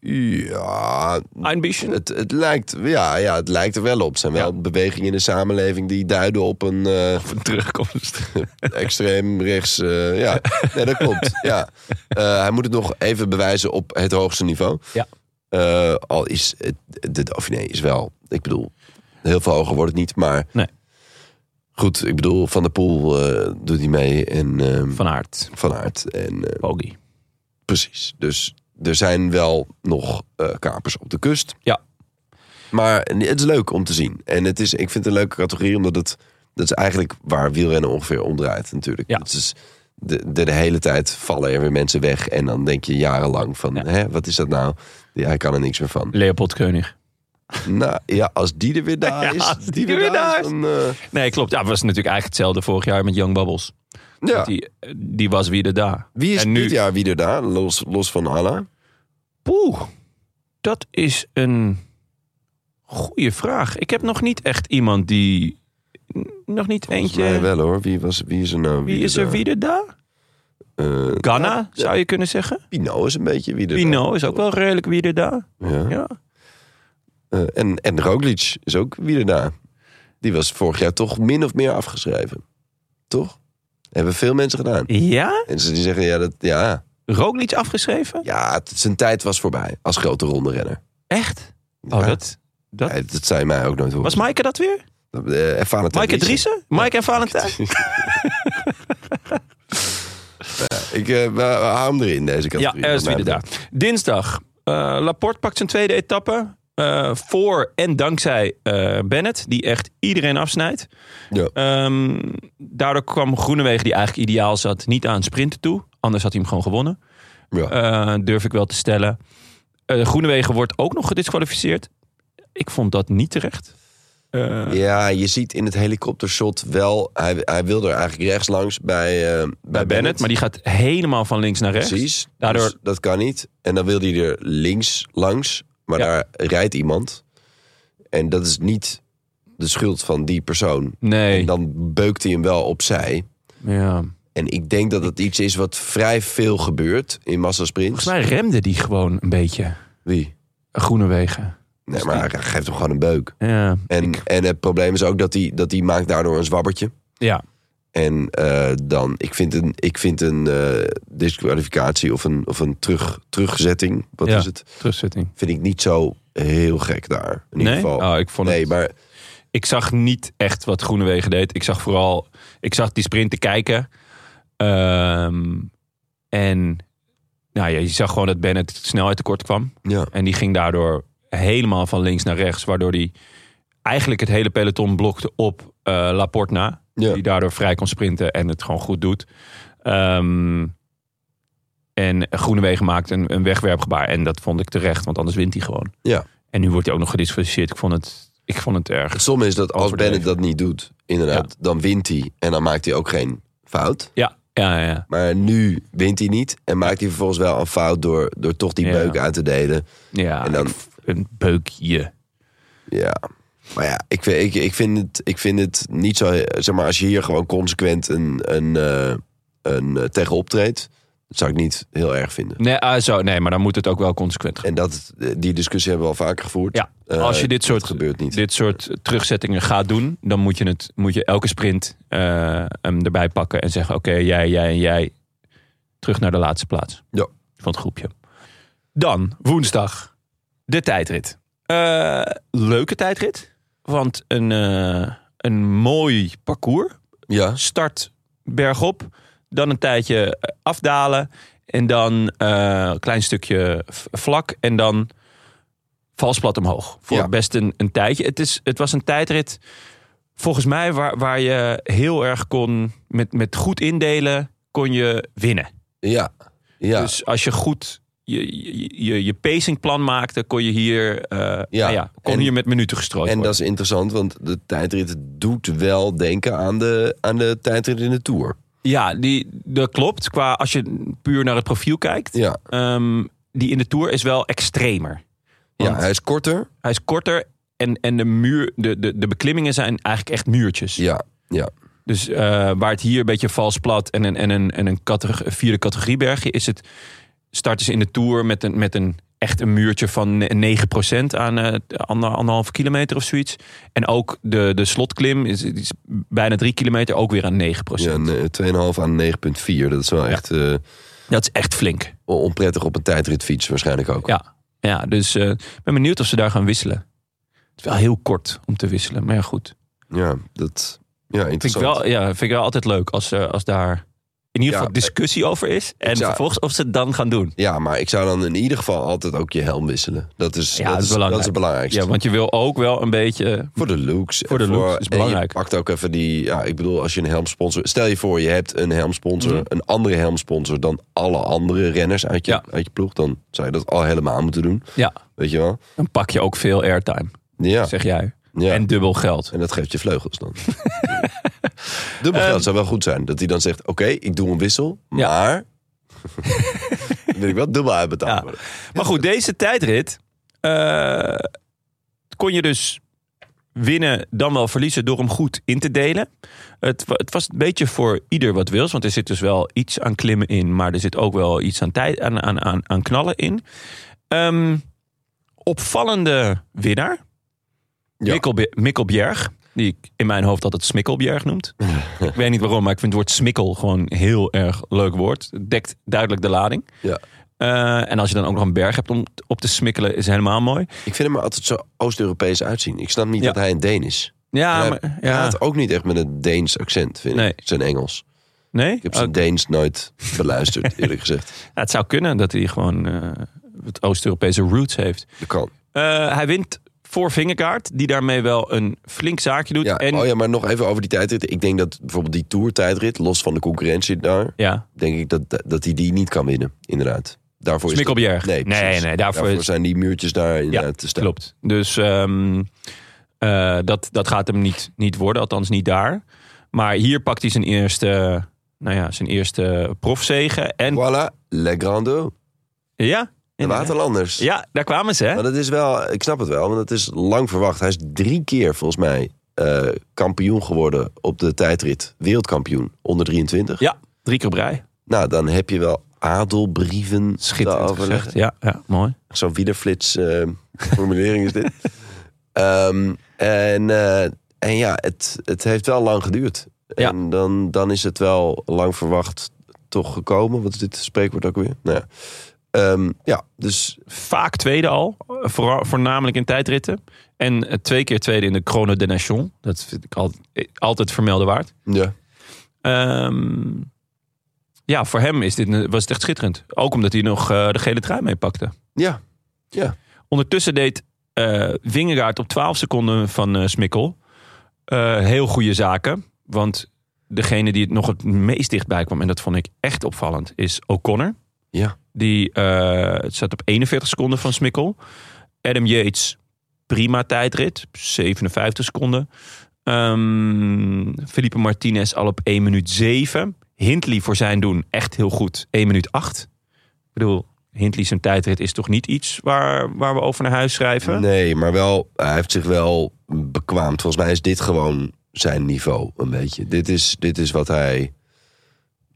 S2: Ja,
S1: Ein bisschen?
S2: het, het, lijkt, ja, ja, het lijkt er wel op. Er zijn wel bewegingen in de samenleving die duiden op een... eh,
S1: terugkomst.
S2: extreem rechts. eh, ja, nee, dat klopt. Ja. Eh, hij moet het nog even bewijzen op het hoogste niveau.
S1: Ja.
S2: Eh, al is het, de Dauphiné is wel, ik bedoel, heel veel hoger wordt het niet, maar
S1: Nee.
S2: goed, ik bedoel, Van der Poel eh, doet hij mee en ehm,
S1: Van Aert,
S2: Van Aert en eh,
S1: Bogie.
S2: precies. Dus er zijn wel nog eh, kapers op de kust.
S1: Ja.
S2: Maar het is leuk om te zien. En het is, ik vind het een leuke categorie, omdat het... Dat is eigenlijk waar wielrennen ongeveer om draait natuurlijk.
S1: Ja.
S2: Het is de, de, de hele tijd vallen er weer mensen weg. En dan denk je jarenlang van,
S1: Ja.
S2: hè, wat is dat nou? Ja, hij kan er niks meer van.
S1: Leopold Keunig.
S2: nou ja, als die er weer daar
S1: Ja,
S2: is.
S1: als
S2: die, er weer daar is. Dan, eh,
S1: Nee, klopt. Ja, het was natuurlijk eigenlijk hetzelfde vorig jaar met Young Bubbles.
S2: ja.
S1: Die, eh, die was wieder da.
S2: Wie is
S1: en nu-
S2: dit jaar wie er daar? Los, los van Allah.
S1: Poeh, dat is een goede vraag. Ik heb nog niet echt iemand die... n- Nog niet
S2: Volgens
S1: eentje...
S2: mij wel hoor. Wie, was, wie is er nou?
S1: Wie is er
S2: daar?
S1: wieder da?
S2: Eh,
S1: Ghana, zou je kunnen zeggen.
S2: Pino is een beetje wie er daar.
S1: Pino is ook wel redelijk wieder da.
S2: Ja.
S1: Ja.
S2: Eh, en, en Roglic is ook weer daarna. Die was vorig jaar toch min of meer afgeschreven. Toch? Hebben veel mensen gedaan.
S1: Ja?
S2: En ze die zeggen, ja, dat, ja,
S1: Roglic afgeschreven?
S2: ja het- zijn tijd was voorbij als grote ronde renner.
S1: Echt? Oh, dat... dat...
S2: Ja, dat zei mij ook nooit horen.
S1: Was Maaike dat weer?
S2: Eh, en Valentijn
S1: Maaike
S2: Driessen.
S1: Driessen? Maaike en Valentijn?
S2: Ik eh, we- we hou hem erin, deze
S1: Ja,
S2: categorie.
S1: er is
S2: Wat mij
S1: weer daar. Dinsdag. eh, Laporte pakt zijn tweede etappe. eh, voor en dankzij eh, Bennett, die echt iedereen afsnijdt.
S2: betreft. Ja.
S1: Ehm, daardoor kwam Groenewegen, die eigenlijk ideaal zat, niet aan sprinten toe. Anders had hij hem gewoon gewonnen.
S2: Ja.
S1: Eh, durf ik wel te stellen. Eh Groenewegen wordt ook nog gedisqualificeerd. Ik vond dat niet terecht. Eh,
S2: Ja, je ziet in het helikoptershot wel... Hij, hij wilde er eigenlijk rechts langs bij, eh, bij,
S1: bij Bennett, maar die gaat helemaal van links naar rechts.
S2: Precies.
S1: Daardoor-
S2: Dus dat kan niet. En dan wil hij er links langs, maar
S1: Ja.
S2: daar rijdt iemand. En dat is niet de schuld van die persoon.
S1: Nee.
S2: En dan beukt hij hem wel opzij.
S1: Ja.
S2: En ik denk dat het iets is wat vrij veel gebeurt in massasprints.
S1: Volgens mij remde die gewoon een beetje.
S2: Wie?
S1: Groenewegen.
S2: Nee, maar hij geeft hem gewoon een beuk.
S1: Ja.
S2: En, en het probleem is ook dat hij, dat hij maakt daardoor een zwabbertje.
S1: Ja.
S2: En eh, dan, ik vind een, ik vind een eh, disqualificatie of een, of een terug, terugzetting, wat
S1: Ja.
S2: is het?
S1: Terugzetting.
S2: vind ik niet zo heel gek daar. In ieder
S1: Nee?
S2: geval.
S1: Oh, ik vond
S2: nee,
S1: het-
S2: maar
S1: Ik zag niet echt wat Groenewegen deed. Ik zag vooral... Ik zag die sprinten kijken. Ehm, en nou ja, je zag gewoon dat Bennett snelheid tekort kwam.
S2: ja,
S1: En die ging daardoor helemaal van links naar rechts. Waardoor die eigenlijk het hele peloton blokte op eh Laporte na.
S2: Ja.
S1: Die daardoor vrij kon sprinten en het gewoon goed doet. Ehm, en Groenewegen maakt een, een wegwerpgebaar. En dat vond ik terecht, want anders wint hij gewoon.
S2: Ja.
S1: En nu wordt hij ook nog gedisqualificeerd. Ik vond het, ik vond het erg.
S2: het somme is dat als
S1: Overdreven.
S2: Bennett dat niet doet, inderdaad, dan wint hij. En dan maakt hij ook geen fout.
S1: Ja, ja, ja, ja.
S2: Maar nu wint hij niet. En maakt hij vervolgens wel een fout door, door toch die
S1: Ja.
S2: beuk uit te delen.
S1: ja
S2: En dan-
S1: ik- een beukje.
S2: Ja. Maar ja, ik, weet- ik, ik, vind het, ik vind het niet zo. Zeg maar, als je hier gewoon consequent een, een, eh, een eh, tegen optreedt, dat zou ik niet heel erg vinden.
S1: Nee, ah, zo, nee, maar dan moet het ook wel consequent gaan.
S2: En dat, die discussie hebben we al vaker gevoerd.
S1: Ja,
S2: Eh,
S1: als je dit soort,
S2: dat gebeurt niet.
S1: dit soort terugzettingen gaat doen, dan moet je, het, moet je elke sprint eh, hem erbij pakken en zeggen: Oké, jij, jij en jij terug naar de laatste plaats
S2: Ja.
S1: van het groepje. Dan woensdag, de tijdrit. Eh, leuke tijdrit, want een, eh, een mooi parcours.
S2: Ja.
S1: start bergop, dan een tijdje eh, afdalen en dan eh, een klein stukje v- vlak en dan vals plat omhoog. Voor
S2: Ja.
S1: best een, een tijdje. Het, is, het was een tijdrit, volgens mij, waar, waar je heel erg kon... Met, met goed indelen kon je winnen.
S2: Ja. Ja.
S1: Dus als je goed je, je, je, je pacingplan maakte, kon je hier, eh, nou ja, kon
S2: En-
S1: hier met minuten gestrooid
S2: en
S1: worden.
S2: dat is interessant, want de tijdrit doet wel denken aan de, aan de tijdrit in de Tour.
S1: Ja, die, dat klopt. Qua, als je puur naar het profiel kijkt.
S2: Ja,
S1: ehm, die in de Tour is wel extremer.
S2: ja
S1: Want-
S2: hij is korter.
S1: Hij is korter en, en de, muur, de, de, de beklimmingen zijn eigenlijk echt muurtjes.
S2: Ja, ja.
S1: Dus eh, waar het hier een beetje vals plat en een, en een, en een categor- een vierde categorie bergje is het starten ze in de Tour met een, met een echt een muurtje van ne- 9% aan eh, ander- anderhalve kilometer of zoiets. En ook de, de slotklim is, is bijna 3 kilometer ook weer aan 9%.
S2: ja een, eh, 2,5 aan 9,4. Dat is wel echt eh,
S1: Dat is echt flink.
S2: on- onprettig op een tijdritfiets waarschijnlijk ook.
S1: Ja, ja dus eh, ik ben benieuwd of ze daar gaan wisselen. Het is wel heel kort om te wisselen, maar ja, goed.
S2: Ja, dat... Ja,
S1: Vind ik,
S2: interessant.
S1: wel, ja, vind ik wel altijd leuk als, eh, als daar in ieder
S2: Ja,
S1: geval discussie over is. En
S2: zou-
S1: vervolgens of ze het dan gaan doen.
S2: Ja, maar ik zou dan in ieder geval altijd ook je helm wisselen. Dat is,
S1: Ja,
S2: dat
S1: dat
S2: is,
S1: is
S2: Dat is het belangrijkste.
S1: Ja, want je wil ook wel een beetje... eh,
S2: Voor de looks.
S1: Voor de
S2: En
S1: looks is
S2: en
S1: belangrijk.
S2: je pakt ook even die... Ja, ik bedoel, als je een helmsponsor... Stel je voor, je hebt een helmsponsor,
S1: Mhm.
S2: een andere helmsponsor... dan alle andere renners uit je,
S1: Ja.
S2: uit je ploeg. Dan zou je dat al helemaal moeten doen.
S1: Ja,
S2: Weet je wel?
S1: dan pak je ook veel airtime,
S2: Ja,
S1: zeg jij.
S2: ja.
S1: En
S2: En,
S1: dubbel geld.
S2: dat geeft je vleugels dan. Dubbel geld zou wel goed zijn. Dat hij dan zegt, oké, ik doe een wissel,
S1: Ehm. Ja.
S2: maar... dan wil ik wel dubbel
S1: Ja.
S2: uitbetaald worden.
S1: Maar goed, deze tijdrit eh, kon je dus winnen, dan wel verliezen door hem goed in te delen. Het, wa- het was een beetje voor ieder wat wils, want er zit dus wel iets aan klimmen in, maar er zit ook wel iets aan, tijd, aan, aan, aan, aan knallen in. Ehm, opvallende winnaar,
S2: Ja.
S1: Mikkelbe- Mikkelbjerg, die ik in mijn hoofd altijd Smikkelbjerg noemt. ik weet niet waarom, maar ik vind het woord smikkel gewoon een heel erg leuk woord. Het dekt duidelijk de lading.
S2: Ja.
S1: Eh, en als je dan ook nog een berg hebt om t- op te smikkelen, is helemaal mooi.
S2: Ik vind hem er altijd zo Oost-Europees uitzien. Ik snap niet
S1: Ja.
S2: dat hij een Deen is.
S1: Ja,
S2: hij
S1: maar,
S2: Hij
S1: ja.
S2: had ook niet echt met een Deens accent, vind
S1: Nee.
S2: ik. Zijn Engels.
S1: Nee?
S2: Ik heb zijn
S1: Oh,
S2: Deens nooit beluisterd, eerlijk gezegd.
S1: ja, het zou kunnen dat hij gewoon eh, het Oost-Europese roots heeft.
S2: Dat kan.
S1: Eh, hij wint voor Vingerkaart, die daarmee wel een flink zaakje doet.
S2: Ja.
S1: en,
S2: Oh ja, maar nog even over die tijdrit. Ik denk dat bijvoorbeeld die Tour-tijdrit, los van de concurrentie daar...
S1: ja.
S2: denk ik dat, dat hij die niet kan winnen, inderdaad. Daarvoor is dat-
S1: Smikkelbjerg.
S2: Nee,
S1: nee,
S2: precies.
S1: nee, daarvoor,
S2: Daarvoor
S1: is-
S2: zijn die muurtjes daar inderdaad te staan.
S1: Klopt. Dus ehm, eh, dat, dat gaat hem niet, niet worden, althans niet daar. Maar hier pakt hij zijn eerste, nou ja, zijn eerste profzegen. En
S2: Voilà, Le Grande,
S1: ja,
S2: de Waterlanders.
S1: ja, daar kwamen ze. Hè?
S2: Maar dat is wel, ik snap het wel, want het is lang verwacht. Hij is drie keer volgens mij eh, kampioen geworden op de tijdrit. Wereldkampioen onder 23.
S1: Ja, drie keer op rij.
S2: Nou, dan heb je wel adelbrieven
S1: Schitterend
S2: te overleggen.
S1: gezegd. Ja, ja, mooi.
S2: Zo'n wielerflits eh, formulering is dit. Ehm, en, eh, en ja, het, het heeft wel lang geduurd.
S1: Ja.
S2: En dan, dan is het wel lang verwacht toch gekomen. Wat is dit spreekwoord ook weer? Nou ja. Ehm, ja, dus
S1: Vaak tweede al, voor, voornamelijk in tijdritten. En eh, twee keer tweede in de Chrono de Nation. Dat vind ik altijd, eh, altijd vermelden waard.
S2: ja.
S1: Ehm, ja, voor hem is dit, een- was het echt schitterend. Ook omdat hij nog eh, de gele trui meepakte.
S2: Ja,
S1: Ondertussen deed eh Vingegaard op 12 seconden van eh Smikkel eh, heel goede zaken. Want degene die het nog het meest dichtbij kwam, en dat vond ik echt opvallend, is O'Connor.
S2: Ja.
S1: Die eh, het zat op 41 seconden van Smikkel. Adam Yates, prima tijdrit, 57 seconden. Ehm Felipe Martinez al op 1 minuut 7. Hindley voor zijn doen echt heel goed, 1 minuut 8. Ik bedoel, Hindley zijn tijdrit is toch niet iets waar, waar we over naar huis schrijven?
S2: Nee, maar wel, hij heeft zich wel bekwaamd. Volgens mij is dit gewoon zijn niveau, een beetje. Dit is, dit is wat hij,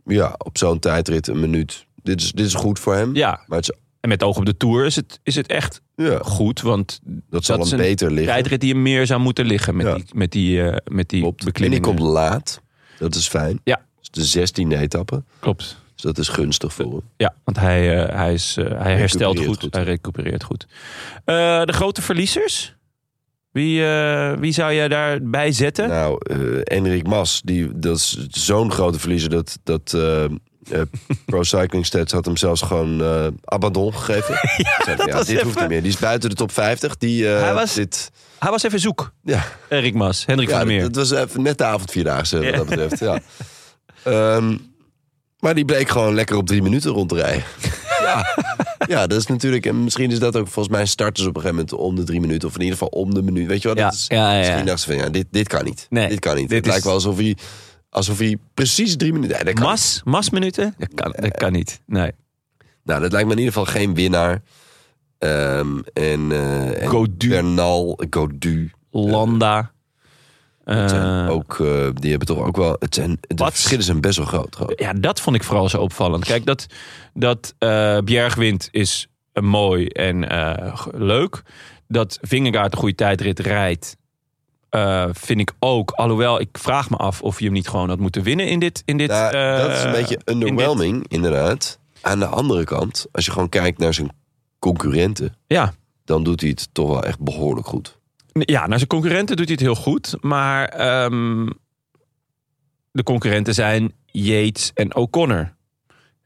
S2: ja, op zo'n tijdrit, een minuut. Dit is, dit is goed voor hem.
S1: Ja,
S2: Maar het is,
S1: en met oog op de Tour is het, is het echt
S2: ja,
S1: goed. Want
S2: dat zal
S1: is
S2: hem
S1: een
S2: beter liggen.
S1: tijdrit die hem meer zou moeten liggen met
S2: Ja.
S1: die, met die, eh, met die
S2: Klopt. En die
S1: beklimmingen.
S2: komt laat. Dat is fijn.
S1: Ja.
S2: Dat is de 16e etappe.
S1: Klopt.
S2: Dus dat is gunstig voor hem.
S1: Ja, want hij, eh, hij, is, eh, hij herstelt goed,
S2: goed.
S1: Hij recupereert goed. Eh, de grote verliezers? Wie, eh, wie zou jij daarbij zetten?
S2: Nou, eh Enrik Mas, die, dat is zo'n grote verliezer dat, dat eh, eh, Pro Cycling Stats had hem zelfs gewoon eh, abandon gegeven. Zei hij, ja,
S1: was
S2: dit hoeft
S1: even-
S2: niet meer. Die is buiten de top 50. Die, eh,
S1: Hij was-
S2: dit,
S1: Hij was even zoek,
S2: ja,
S1: Erik Mas, Hendrik
S2: ja
S1: van der Meer.
S2: dat, dat was even net de avondvierdaagse
S1: Ja.
S2: wat dat betreft. Ja. Ehm, maar die bleek gewoon lekker op drie minuten rond te rijden. ja. ja, dat is natuurlijk... En misschien is dat ook volgens mij starters op een gegeven moment om de drie minuten. Of in ieder geval om de minuut. Weet je wel?
S1: Ja,
S2: Dat is,
S1: ja, ja, ja.
S2: Misschien dacht ze van, ja, dit, dit kan niet.
S1: Nee,
S2: dit kan niet.
S1: dit
S2: het
S1: is-
S2: lijkt wel alsof hij, alsof hij precies drie minuten... Nee, dat kan
S1: Mas, Mas-minuten? Dat kan, dat kan niet. Nee.
S2: Nou, dat lijkt me in ieder geval geen winnaar. Ehm, en, eh en
S1: Godu.
S2: Bernal, Godu.
S1: Landa.
S2: Het zijn
S1: Eh,
S2: ook, eh, die hebben toch ook wel... Het zijn, de
S1: Wat?
S2: verschillen zijn best wel groot. gewoon.
S1: ja, dat vond ik vooral zo opvallend. Kijk, dat, dat eh Bjerg wint is eh, mooi en eh, g- leuk. Dat Vingegaard een goede tijdrit rijdt, eh, vind ik ook. Alhoewel, ik vraag me af of je hem niet gewoon had moeten winnen in dit... In dit
S2: Nou, dat is een
S1: eh,
S2: beetje
S1: dit-
S2: underwhelming, inderdaad. Aan de andere kant, als je gewoon kijkt naar zijn concurrenten...
S1: Ja.
S2: dan doet hij het toch wel echt behoorlijk goed.
S1: Ja, naar zijn concurrenten doet hij het heel goed. Maar ehm, de concurrenten zijn Yates en O'Connor.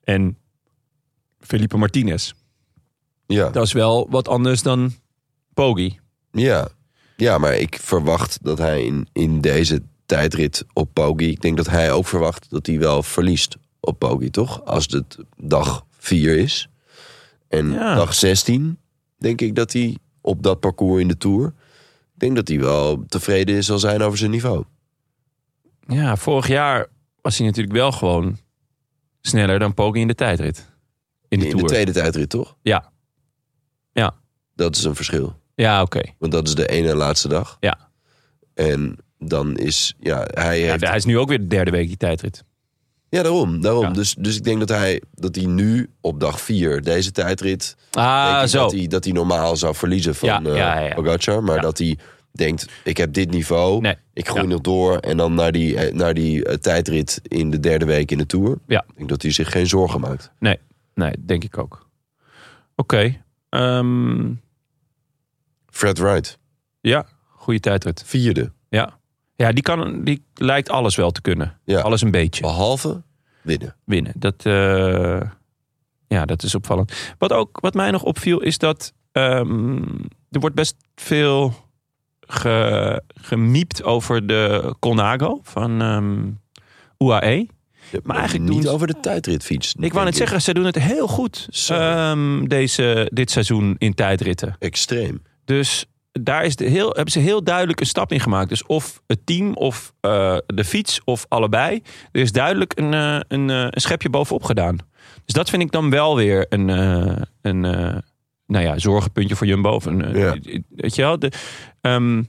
S1: En Felipe Martinez.
S2: Ja,
S1: Dat is wel wat anders dan Poggi.
S2: ja. ja maar ik verwacht dat hij in, in deze tijdrit op Poggi... ik denk dat hij ook verwacht dat hij wel verliest op Poggi, toch? Als het dag 4 is. En
S1: Ja.
S2: dag 16 denk ik dat hij op dat parcours in de Tour... ik denk dat hij wel tevreden zal zijn over zijn niveau.
S1: Ja, vorig jaar was hij natuurlijk wel gewoon sneller dan Poggi in de tijdrit. In de
S2: in
S1: Tour.
S2: de tweede tijdrit, toch?
S1: Ja. Ja.
S2: Dat is een verschil.
S1: ja, oké.
S2: Want dat is de ene laatste dag.
S1: Ja.
S2: En dan is, ja, hij
S1: Ja,
S2: heeft... Ja,
S1: hij is nu ook weer de derde week die tijdrit.
S2: daarom. daarom.
S1: Ja.
S2: Dus, dus ik denk dat hij, dat hij nu op dag vier, deze tijdrit... denk
S1: Ah,
S2: ik
S1: zo.
S2: Dat, hij, dat hij normaal zou verliezen van
S1: Ja,
S2: eh,
S1: ja, ja, ja.
S2: Pogacar. Maar
S1: Ja.
S2: dat hij denkt, ik heb dit niveau,
S1: Nee,
S2: ik groei
S1: ja.
S2: nog door. En dan naar die, eh, naar die eh, tijdrit in de derde week in de Tour.
S1: Ja.
S2: Ik denk dat hij zich geen zorgen maakt.
S1: Nee, denk ik ook. Oké. ehm,
S2: Fred Wright,
S1: ja, goede tijdrit.
S2: vierde.
S1: Ja, ja die, kan, die lijkt alles wel te kunnen.
S2: Ja.
S1: Alles een beetje
S2: Behalve winnen.
S1: winnen. Dat, eh, ja, dat is opvallend. Wat, ook, wat mij nog opviel is dat ehm, er wordt best veel ge, gemiept over de Colnago van ehm, UAE.
S2: Ja,
S1: Maar eigenlijk
S2: niet
S1: doen ze-
S2: over de tijdritfiets.
S1: Ik wou
S2: denk
S1: net zeggen, ze doen het heel goed
S2: Zo.
S1: ehm, deze, dit seizoen in tijdritten.
S2: Extreem.
S1: Dus daar is de heel, hebben ze heel duidelijk een stap in gemaakt. Dus of het team, of eh, de fiets, of allebei. Er is duidelijk een, eh, een, eh, een schepje bovenop gedaan. Dus dat vind ik dan wel weer een, eh, een eh, nou ja, zorgenpuntje voor Jumbo. Of een, eh, Weet je wel? De, ehm,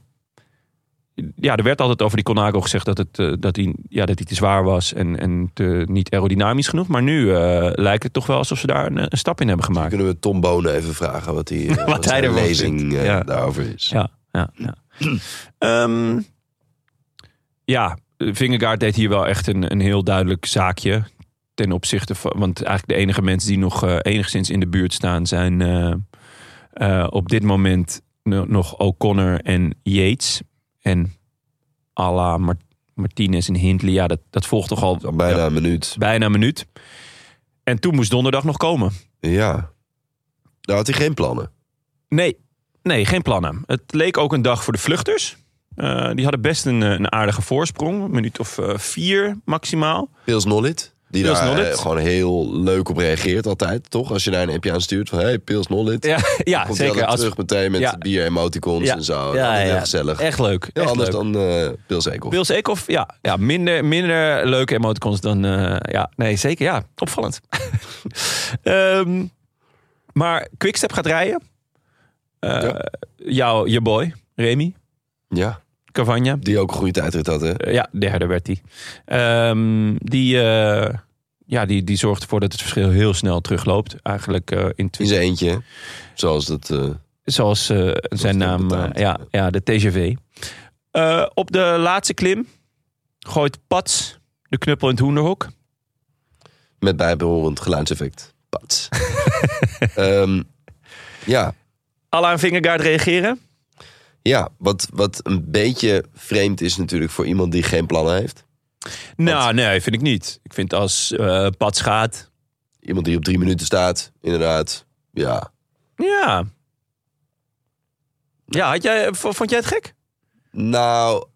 S1: ja, er werd altijd over die Conago gezegd dat, het, eh, dat, hij, ja, dat hij te zwaar was en, en te, niet aerodynamisch genoeg. Maar nu eh, lijkt het toch wel alsof ze daar een, eh, een stap in hebben gemaakt.
S2: Dus Kunnen we Tom Bonen even vragen wat, die, eh, wat,
S1: hij
S2: zijn
S1: ervan
S2: lezing
S1: vindt.
S2: eh,
S1: Ja.
S2: daarover is?
S1: Ja, ja, ja. Ehm, ja, Vingegaard deed hier wel echt een, een heel duidelijk zaakje. Ten opzichte van, want eigenlijk de enige mensen die nog eh, enigszins in de buurt staan zijn eh, eh, op dit moment no- nog O'Connor en Yates. En Alla Martinez en Hindley. Ja, dat, dat volgt toch al
S2: Al bijna een minuut.
S1: bijna een minuut. En toen moest donderdag nog komen.
S2: Ja. Daar had hij geen plannen.
S1: Nee, nee, geen plannen. Het leek ook een dag voor de vluchters. Eh, die hadden best een, eh, een aardige voorsprong. Een minuut of eh, vier maximaal.
S2: Pils Nollit, die
S1: Pils
S2: daar eh,
S1: Nollit.
S2: gewoon heel leuk op reageert altijd, toch? Als je daar een appje aan stuurt van, hey, Pils Nollit.
S1: Ja, ja
S2: Komt hij
S1: zeker.
S2: altijd
S1: Als,
S2: terug meteen met
S1: Ja.
S2: bier-emoticons
S1: Ja.
S2: en zo.
S1: Ja,
S2: Ja,
S1: ja, ja.
S2: gezellig.
S1: echt leuk.
S2: Heel
S1: echt
S2: anders
S1: leuk.
S2: dan eh Pils Eekhoff.
S1: Pils Eekhoff, ja, ja minder, minder leuke emoticons dan... eh, ja, nee, zeker, ja. Opvallend. Ehm, maar Quickstep gaat rijden. Eh,
S2: Ja.
S1: jou, je boy, Remy
S2: Ja,
S1: Cavagna.
S2: die ook een goede tijdrit had, hè?
S1: Eh, ja, derde werd hij. Ehm, die, eh, ja, die, die zorgt ervoor dat het verschil heel snel terugloopt. Eigenlijk eh, in
S2: In
S1: twintig,
S2: zijn eentje, hè? zoals dat... eh,
S1: zoals eh, zijn
S2: het
S1: naam, eh,
S2: betaamt.
S1: ja, ja, de TGV. Eh, op de laatste klim gooit Pats de knuppel in het hoenderhok.
S2: Met bijbehorend geluidseffect. Pats. Ehm, ja,
S1: Alain Vingegaard reageren.
S2: ja wat, wat een beetje vreemd is natuurlijk voor iemand die geen plannen heeft.
S1: Nou, nee, vind ik niet. Ik vind als eh Pats gaat,
S2: Iemand die op drie minuten staat, inderdaad. Ja.
S1: ja. Ja, had jij, v- vond jij het gek?
S2: Nou,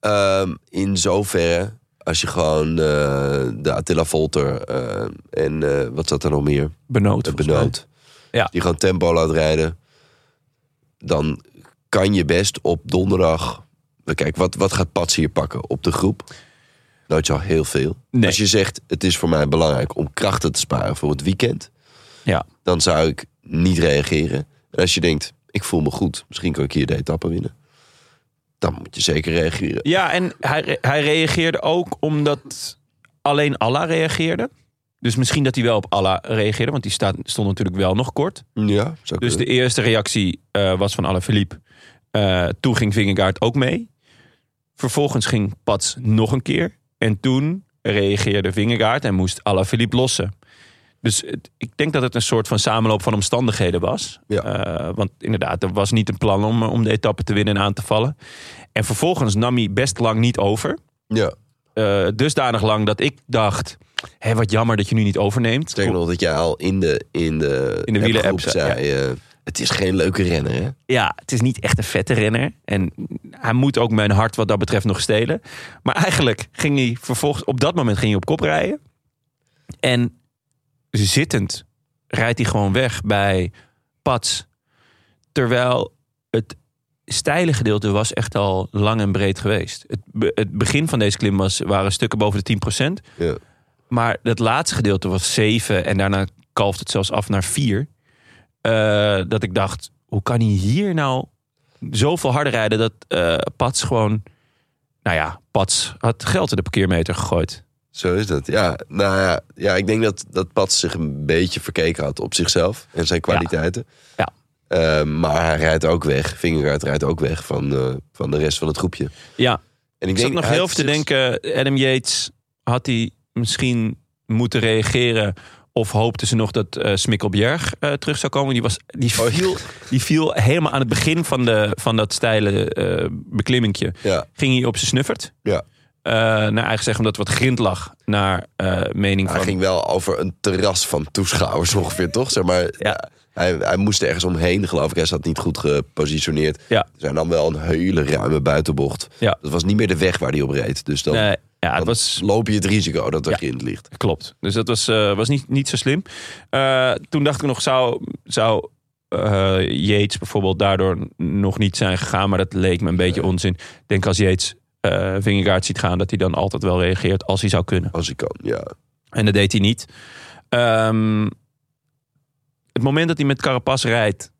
S2: ehm, in zoverre, als je gewoon eh, de Attila Volter eh, en eh, wat zat er nog meer?
S1: Benoot.
S2: Het benoot.
S1: Ja.
S2: Die gewoon tempo laat rijden. Dan kan je best op donderdag... Kijk, wat, wat gaat Pats hier pakken op de groep? Nooit zo heel veel.
S1: Nee.
S2: Als je zegt, het is voor mij belangrijk om krachten te sparen voor het weekend...
S1: Ja.
S2: dan zou ik niet reageren. En als je denkt, ik voel me goed, misschien kan ik hier de etappe winnen... dan moet je zeker reageren.
S1: Ja, en hij, re- hij reageerde ook omdat alleen Allah reageerde. Dus misschien dat hij wel op Allah reageerde, want die staat, stond natuurlijk wel nog kort.
S2: Ja, zou
S1: Dus de
S2: kunnen.
S1: eerste reactie eh, was van Alaphilippe. Eh toen ging Vingegaard ook mee. Vervolgens ging Pats nog een keer. En toen reageerde Vingegaard en moest Alaphilippe lossen. Dus het- ik denk dat het een soort van samenloop van omstandigheden was.
S2: Ja.
S1: Eh, want inderdaad, er was niet een plan om, eh, om de etappe te winnen en aan te vallen. En vervolgens nam hij best lang niet over.
S2: ja,
S1: Eh, dusdanig lang dat ik dacht... Hé, wat jammer dat je nu niet overneemt.
S2: sterker nog dat jij al in de in de,
S1: In de wielen-app
S2: appgroep
S1: zei,
S2: zei... eh, het is geen leuke renner, hè?
S1: ja, het is niet echt een vette renner. En hij moet ook mijn hart wat dat betreft nog stelen. Maar eigenlijk ging hij vervolgens, op dat moment ging hij op kop rijden. En zittend rijdt hij gewoon weg bij Pats. Terwijl het steile gedeelte was echt al lang en breed geweest. Het, be- het begin van deze klim was, waren stukken boven de 10%.
S2: Ja.
S1: Maar het laatste gedeelte was 7 en daarna kalft het zelfs af naar 4. Eh, dat ik dacht, hoe kan hij hier nou zoveel harder rijden dat eh, Pats gewoon... Nou ja, Pats had geld in de parkeermeter gegooid.
S2: Zo is dat. Ja, nou ja, ja ik denk dat, dat Pats zich een beetje verkeken had op zichzelf en zijn kwaliteiten.
S1: Ja.
S2: Eh, maar hij rijdt ook weg. Vingegaard rijdt ook weg van, eh, van de rest van het groepje.
S1: Ja,
S2: En
S1: ik zat nog
S2: hij
S1: heel
S2: heeft
S1: even te
S2: zich-
S1: denken, Adam Yates had hij misschien moeten reageren... Of hoopte ze nog dat eh Smikkelbjerg eh, terug zou komen? Die, was, die,
S2: Oh,
S1: viel, die viel helemaal aan het begin van, de, van dat steile eh beklimmingje.
S2: Ja,
S1: ging hij op zijn snuffert.
S2: Ja.
S1: Eh, naar eigen zeggen omdat wat grind lag. Naar eh, mening
S2: hij
S1: van...
S2: ging wel over een terras van toeschouwers ongeveer, toch? Zeg maar, eh,
S1: Ja.
S2: hij, hij moest ergens omheen, geloof ik. Hij zat niet goed gepositioneerd.
S1: Ja.
S2: Er zijn dan wel een hele ruime buitenbocht.
S1: Ja.
S2: Dat was niet meer de weg waar hij op reed. Dus dan
S1: Nee, ja, het
S2: dan
S1: was...
S2: loop je het risico dat er
S1: Ja.
S2: kind ligt.
S1: Klopt. Dus dat was, eh, was niet, niet zo slim. Eh, toen dacht ik nog, zou, zou eh, Yates bijvoorbeeld daardoor nog niet zijn gegaan? Maar dat leek me een beetje onzin. Ik denk als Yates eh Vingegaard ziet gaan, dat hij dan altijd wel reageert als hij zou kunnen.
S2: Als ik kan, ja.
S1: En dat deed hij niet. Ehm, het moment dat hij met Carapaz rijdt,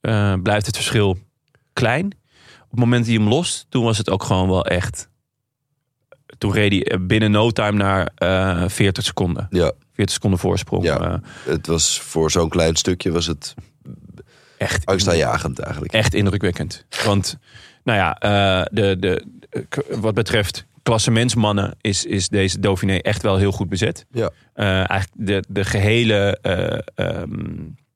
S1: eh, blijft het verschil klein. Op het moment dat hij hem lost, toen was het ook gewoon wel echt. Toen reed hij eh, binnen no time naar eh 40 seconden.
S2: ja.
S1: 40 seconden voorsprong.
S2: Ja.
S1: Eh,
S2: Het was voor zo'n klein stukje was het
S1: echt,
S2: angstaanjagend eigenlijk.
S1: echt indrukwekkend. Want, nou ja, eh, de, de, k- wat betreft klassementsmannen is, is deze Dauphiné echt wel heel goed bezet.
S2: Ja.
S1: Eh, eigenlijk de, de gehele eh, ehm,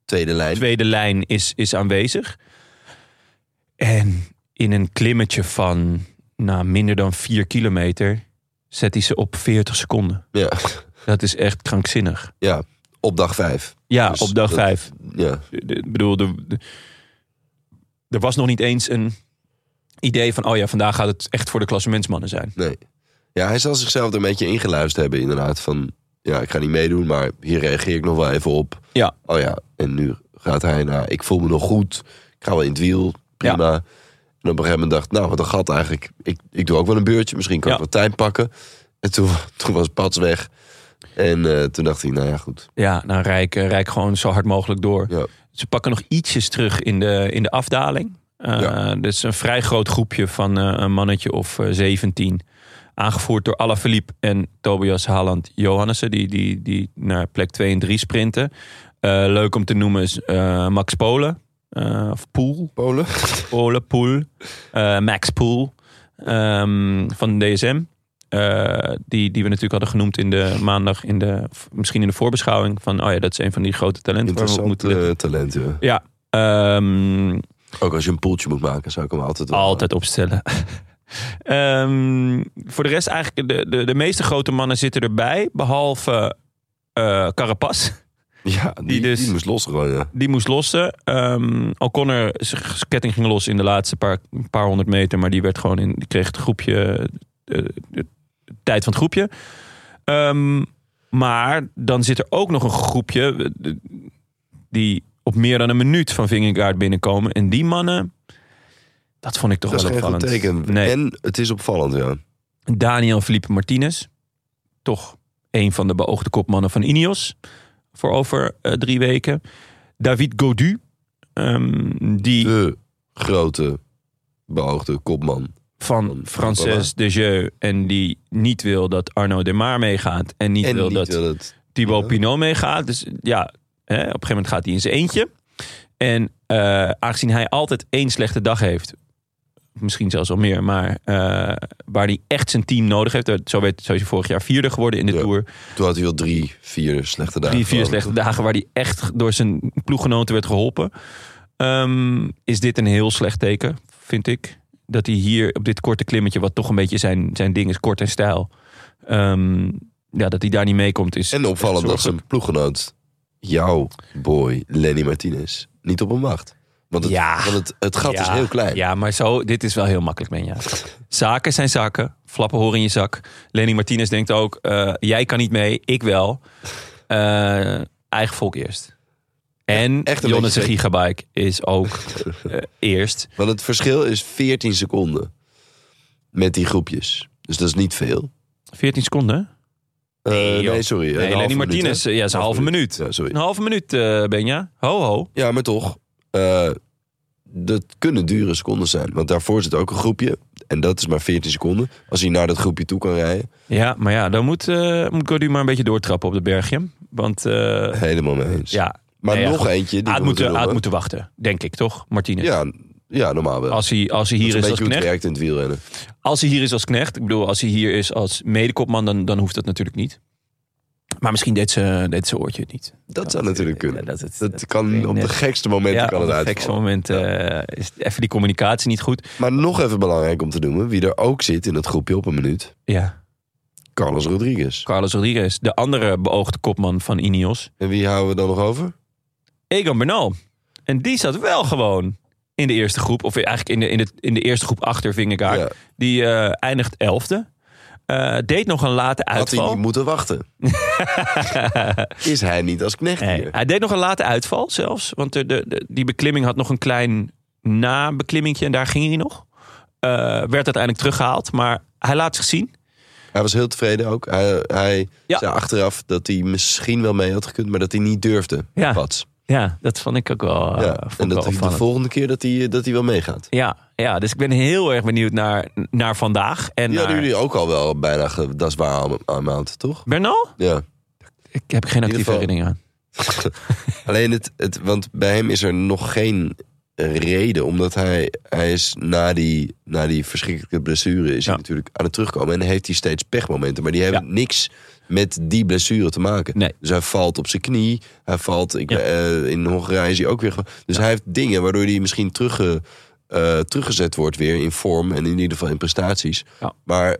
S2: Tweede lijn.
S1: tweede lijn is, is aanwezig. En in een klimmetje van nou, minder dan 4 kilometer zet hij ze op 40 seconden.
S2: Ja.
S1: Dat is echt krankzinnig.
S2: ja, op dag vijf.
S1: Ja,
S2: Dus
S1: op dag
S2: dat-
S1: 5.
S2: Ja.
S1: Ik bedoel, de- de- er was nog niet eens een idee van... oh ja, vandaag gaat het echt voor de klassementsmannen zijn.
S2: ja, hij zal zichzelf er een beetje ingeluisterd hebben inderdaad. Van, ja, ik ga niet meedoen, maar hier reageer ik nog wel even op.
S1: Ja.
S2: Oh ja, en nu gaat hij naar, ik voel me nog goed. Ik ga wel in het wiel, prima. En op een gegeven moment dacht ik, nou, wat een gat eigenlijk. Ik, ik doe ook wel een beurtje, misschien kan
S1: Ja.
S2: ik wat tijd pakken. En toen, toen was Pats weg. En eh, toen dacht hij, nou ja, goed.
S1: Ja, nou rijk, eh, rijk gewoon zo hard mogelijk door.
S2: Ja.
S1: Ze pakken nog ietsjes terug in de, in de afdaling. Eh
S2: Ja.
S1: Dit is een vrij groot groepje van eh, een mannetje of eh, 17. Aangevoerd door Alaphilippe en Tobias Haaland Johannessen. Die, die, die naar plek 2 en 3 sprinten. Eh, leuk om te noemen is eh, Max Polen. eh, of Poel.
S2: Polen?
S1: Polen, Poel, eh, Max Poel ehm, van DSM. eh, die, die we natuurlijk hadden genoemd in de maandag, in de, of misschien in de voorbeschouwing. Van, oh ja, dat is een van die grote talenten waar we op
S2: Interessant
S1: moeten letten.
S2: eh, talent, ja.
S1: Ehm,
S2: Ook als je een poeltje moet maken, zou ik hem altijd... wel- eh,
S1: altijd opstellen. Ehm, voor de rest eigenlijk, de, de, de meeste grote mannen zitten erbij. Behalve eh Carapaz.
S2: Ja, die,
S1: dus-
S2: die moest losrollen.
S1: Die moest lossen. Ehm O'Connor, zijn ketting ging los in de laatste paar, paar honderd meter. Maar die werd gewoon in, die kreeg het groepje, eh, de tijd van het groepje. Ehm, maar dan zit er ook nog een groepje eh, de- die op meer dan een minuut van Vingegaard binnenkomen. En die mannen, dat vond ik toch
S2: Dat is
S1: wel
S2: geen goed
S1: opvallend.
S2: teken.
S1: Nee.
S2: En het is opvallend, ja.
S1: Daniel Felipe Martinez. Toch een van de beoogde kopmannen van Ineos. Voor over eh, drie weken. David Godu. ehm, die
S2: De grote beoogde kopman.
S1: van Frances de Jeu. En die niet wil dat Arno Demar meegaat. En niet
S2: en
S1: wil
S2: niet
S1: dat
S2: wil het.
S1: Thibaut
S2: Ja.
S1: Pinot meegaat. Dus ja, hè, op een gegeven moment gaat hij in zijn eentje. En eh, aangezien hij altijd één slechte dag heeft, misschien zelfs al meer, maar eh, waar hij echt zijn team nodig heeft. eh, Zo, werd, zo is hij vorig jaar vierde geworden in de
S2: Ja.
S1: Tour.
S2: Toen had hij wel drie, vier slechte dagen.
S1: Drie, vier
S2: geloof ik.
S1: slechte dagen waar hij echt door zijn ploeggenoten werd geholpen. Ehm, is dit een heel slecht teken, vind ik. Dat hij hier op dit korte klimmetje, wat toch een beetje zijn, zijn ding is, kort en stijl. ehm, ja, dat hij daar niet meekomt is...
S2: En opvallend
S1: is
S2: dat
S1: zorgelijk.
S2: zijn ploeggenoot, jouw boy Lenny Martinez, niet op hem wacht. Want het,
S1: Ja.
S2: want het, het gat
S1: ja,
S2: is heel klein.
S1: Ja, maar zo, dit is wel heel makkelijk, Benja. Zaken zijn zaken. Flappen horen in je zak. Lenny Martinez denkt ook, eh, jij kan niet mee, ik wel. Eh, eigen volk eerst. En
S2: echt een
S1: Jonas
S2: beetje
S1: Gigabike is ook eh, eerst.
S2: Want het verschil is 14 seconden met die groepjes. Dus dat is niet veel.
S1: 14 seconden?
S2: Eh,
S1: Nee,
S2: nee,
S1: joh.
S2: sorry. een
S1: Nee,
S2: halve
S1: Lenny
S2: minuut,
S1: Martinez,
S2: hè?
S1: eh, ja, is een halve minuut.
S2: Ja, sorry.
S1: Een halve minuut, eh, Benja. Ho, ho.
S2: Ja, maar toch. eh, dat kunnen dure seconden zijn. Want daarvoor zit ook een groepje. En dat is maar 14 seconden. Als hij naar dat groepje toe kan rijden.
S1: Ja, maar ja, dan moet, eh moet Godu maar een beetje doortrappen op de bergje. Want eh,
S2: Helemaal mee eens.
S1: ja, eh,
S2: maar
S1: nee, ja,
S2: nog
S1: goed.
S2: eentje.
S1: hij
S2: Die we
S1: had moeten, hij
S2: moeten
S1: had
S2: noemen.
S1: moeten wachten, denk ik, toch, Martinez?
S2: ja, ja, normaal wel.
S1: Als hij, als hij hier
S2: dat is
S1: is
S2: een
S1: als
S2: beetje hoe het
S1: knecht.
S2: werkt in het wielrennen.
S1: Als hij hier is als knecht. Ik bedoel, als hij hier is als medekopman, dan, dan hoeft dat natuurlijk niet. Maar misschien deed ze, deed ze oortje het niet.
S2: Dat zou natuurlijk kunnen.
S1: Ja, dat, het-
S2: Dat
S1: dat
S2: kan op de
S1: net-
S2: gekste momenten
S1: ja,
S2: kan
S1: op
S2: het
S1: het
S2: uitvallen.
S1: gekste moment eh, is even die communicatie niet goed.
S2: Maar nog even belangrijk om te noemen, wie er ook zit in dat groepje op een minuut.
S1: Ja.
S2: Carlos Rodriguez.
S1: Carlos Rodriguez, de andere beoogde kopman van Ineos.
S2: En wie houden we dan nog over?
S1: Egan Bernal. En die zat wel gewoon in de eerste groep. Of eigenlijk in de, in de, in de eerste groep achter Vingegaard.
S2: Ja.
S1: Die eh, eindigt elfde. Eh, deed nog een late
S2: Had hij
S1: uitval.
S2: niet moeten wachten? Is hij niet als knecht
S1: Nee,
S2: hier?
S1: hij deed nog een late uitval zelfs. Want de, de, de- die beklimming had nog een klein nabeklimmingje. En daar ging hij nog. Eh, werd uiteindelijk teruggehaald. Maar hij laat zich zien.
S2: Hij was heel tevreden ook. Hij, hij
S1: Ja.
S2: zei achteraf dat hij misschien wel mee had gekund, maar dat hij niet durfde.
S1: Ja.
S2: Pats.
S1: Ja, dat vond ik ook wel, eh,
S2: Ja.
S1: vond
S2: En
S1: ik
S2: dat
S1: wel
S2: hij de
S1: opvallend.
S2: volgende keer dat hij, eh, dat hij wel meegaat.
S1: Ja, ja, dus ik ben heel erg benieuwd naar, naar vandaag. En eh,
S2: Die hadden
S1: naar...
S2: jullie ook al wel bijna, ge- dat is waar, aan- aan maand, toch?
S1: Bernal?
S2: Ja.
S1: Ik heb geen
S2: ieder
S1: actieve
S2: geval-
S1: herinnering aan.
S2: Alleen het, het, want bij hem is er nog geen reden, omdat hij, hij is na die, na die verschrikkelijke blessure is hij
S1: Ja.
S2: natuurlijk aan het terugkomen en heeft hij steeds pechmomenten, maar die hebben niks met die blessure te maken.
S1: Nee.
S2: Dus hij valt op zijn knie, hij valt ik,
S1: Ja.
S2: eh, in Hongarije is hij ook weer. ge- Dus hij heeft dingen waardoor hij misschien terugge, eh, teruggezet wordt weer in vorm en in ieder geval in prestaties.
S1: Ja.
S2: Maar eh,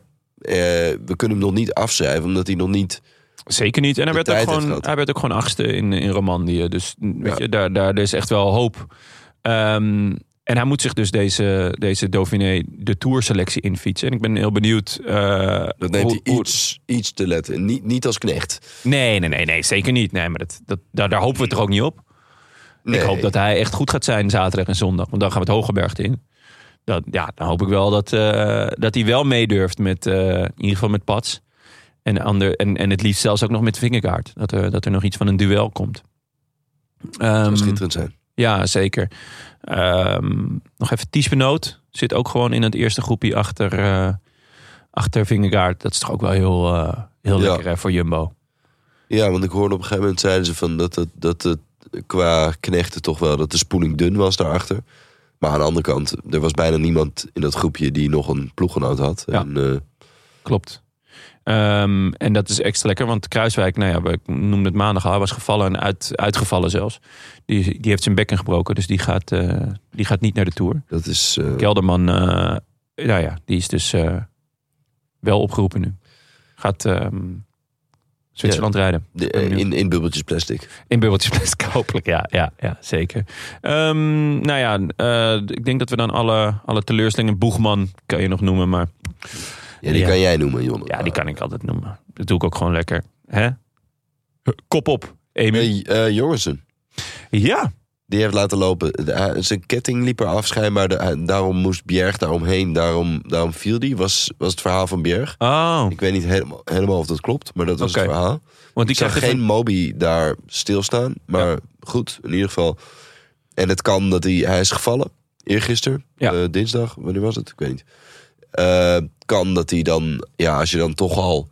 S2: we kunnen hem nog niet afschrijven omdat hij nog niet.
S1: Zeker niet. En hij
S2: De
S1: werd, ook
S2: tijd heeft
S1: gewoon,
S2: gehad.
S1: hij werd ook gewoon achtste in, in Romandie. Dus mm, weet
S2: Ja.
S1: je, daar, daar er is echt wel hoop. Ehm, en hij moet zich dus deze, deze Dauphiné de Tour selectie infietsen. En ik ben heel benieuwd. eh,
S2: Dat neemt
S1: hoe-
S2: hij
S1: hoe-
S2: iets, iets te letten. Niet, niet als knecht.
S1: Nee, nee, nee, nee, zeker niet. Nee, maar dat, dat, daar, daar hopen we toch ook niet op. Ik
S2: Nee.
S1: hoop dat hij echt goed gaat zijn zaterdag en zondag. Want dan gaan we het Hogebergte in. Dat, ja, dan hoop ik wel dat, eh, dat hij wel meedurft met, eh, in ieder geval met Pats. En, ander, en, en het liefst zelfs ook nog met Vingerkaart. Dat er, dat er nog iets van een duel komt. Ehm,
S2: zou schitterend zijn.
S1: ja, zeker. Ehm, nog even Tiesbenoot. Zit ook gewoon in het eerste groepje achter, eh achter Vingegaard. Dat is toch ook wel heel, eh, heel
S2: Ja.
S1: lekker hè, voor Jumbo.
S2: Ja, want ik hoorde op een gegeven moment zeiden ze van dat het, dat het qua knechten toch wel dat de spoeling dun was daarachter. Maar aan de andere kant, er was bijna niemand in dat groepje die nog een ploeggenoot had.
S1: Ja.
S2: En, eh,
S1: Klopt. Ehm, en dat is extra lekker, want Kruiswijk, nou ja, we noemden het maandag al, hij was gevallen en uit, uitgevallen zelfs. Die, die heeft zijn bekken gebroken, dus die gaat, eh, die gaat niet naar de Tour.
S2: dat is eh,
S1: Kelderman eh, nou ja, die is dus eh, wel opgeroepen nu. Gaat ehm, Zwitserland rijden.
S2: De- eh, in, in bubbeltjes plastic.
S1: In bubbeltjes best hopelijk, ja, ja, ja zeker. Ehm, nou ja, eh, ik denk dat we dan alle, alle teleurstellingen... Boegman kan je nog noemen, maar
S2: Ja, die
S1: Ja.
S2: kan jij noemen, Jonne.
S1: ja, die kan ik altijd noemen. Dat doe ik ook gewoon lekker. Hè?
S2: Eh,
S1: Kop op, Amy.
S2: Hey, eh, Jorgensen.
S1: Ja,
S2: Die heeft laten lopen. De- hij- zijn ketting liep er af, schijnbaar. De- hij- daarom moest Bjerg daaromheen. Daarom, daarom viel die, was, was het verhaal van Bjerg.
S1: oh,
S2: Ik weet niet helemaal, helemaal of dat klopt, maar dat was
S1: Oké.
S2: het verhaal.
S1: want die
S2: Ik zag
S1: krijgt dus
S2: geen
S1: geen...
S2: Moby daar stilstaan. Maar goed, in ieder geval. En het kan dat hij... Hij is gevallen. Eergisteren.
S1: Ja.
S2: eh, dinsdag. Wanneer was het? Ik weet niet. Eh, kan dat hij dan... Ja, als je dan toch al...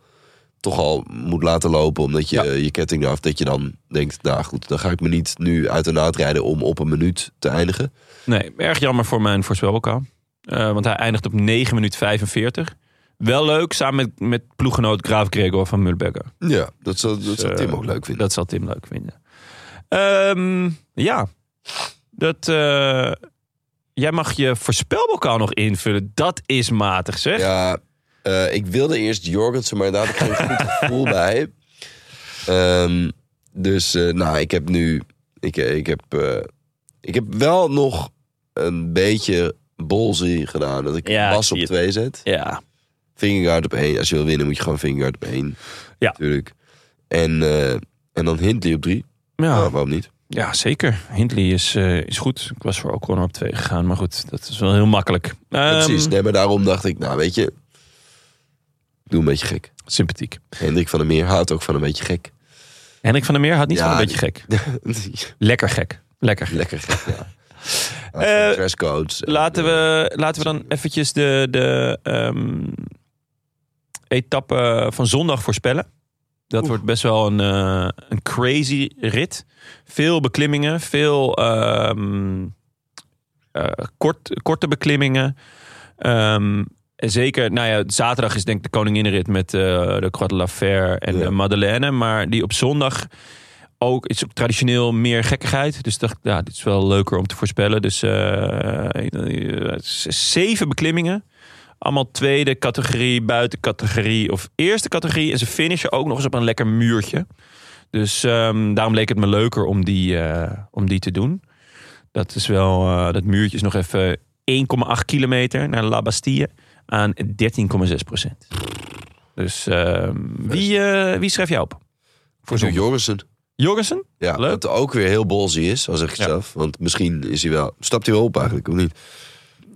S2: Toch al moet laten lopen omdat je
S1: Ja.
S2: eh, je ketting eraf... Dat je dan denkt, nou goed, dan ga ik me niet nu uit de naad rijden... om op een minuut te eindigen.
S1: Nee, erg jammer voor mijn voorspelbokaal. Eh, want hij eindigt op 9 minuten 45. Wel leuk, samen met, met ploeggenoot Graaf Gregor van Mulberger.
S2: Ja, dat zal, dat zal
S1: eh,
S2: Tim ook leuk vinden.
S1: Dat zal Tim leuk vinden. Ehm, ja, dat, eh, jij mag je voorspelbokaal nog invullen. Dat is matig, zeg.
S2: Ja, eh, ik wilde eerst Jorgensen, maar daar had ik geen goed gevoel bij. Ehm, dus, eh, nou, ik heb nu... Ik, ik, heb, eh, ik heb wel nog een beetje bolzy gedaan. Dat ik
S1: Ja,
S2: Bas
S1: ik
S2: op
S1: zie het.
S2: twee zet.
S1: Ja.
S2: Fingergaard op één. Als je wil winnen, moet je gewoon Fingergaard op één.
S1: Ja.
S2: Natuurlijk. En, eh, en dan Hindley op drie.
S1: Ja,
S2: Nou, waarom niet?
S1: ja, zeker. Hindley is, eh, is goed. Ik was voor Ocon op 2 gegaan, maar goed, dat is wel heel makkelijk.
S2: Ja,
S1: Ehm,
S2: precies. Nee, maar daarom dacht ik, nou, weet je... ik Doe een beetje gek.
S1: Sympathiek.
S2: Hendrik van der Meer houdt ook van een beetje gek.
S1: Henrik van der Meer had niet
S2: Ja,
S1: van een beetje gek. Lekker gek. Lekker gek.
S2: Lekker gek, ja.
S1: Eh,
S2: Dresscodes. eh,
S1: Laten we, laten we dan eventjes de, de ehm, etappe van zondag voorspellen. Dat wordt best wel een, eh, een crazy rit. Veel beklimmingen, veel ehm, eh, kort, korte beklimmingen. Ehm, en zeker, nou ja, zaterdag is denk ik de koninginrit met eh, de Croix de la Fer en
S2: Ja.
S1: eh, Madeleine. Maar die op zondag ook is ook traditioneel meer gekkigheid. Dus ik dacht, ja, dit is wel leuker om te voorspellen. Dus eh, eh, z- zeven beklimmingen. Allemaal tweede categorie, buitencategorie of eerste categorie. En ze finishen ook nog eens op een lekker muurtje. Dus ehm, daarom leek het me leuker om die, eh, om die te doen. Dat is wel, eh, dat muurtje is nog even 1,8 kilometer naar La Bastille aan 13,6 procent. Dus ehm, wie, eh, wie schrijf jij op?
S2: Voor zo'n Jorgensen.
S1: Jorgensen?
S2: Ja,
S1: Leuk.
S2: dat ook weer heel bolzy is, al zeg ik
S1: Ja.
S2: zelf. Want misschien is hij wel... Stapt hij wel op eigenlijk, of niet?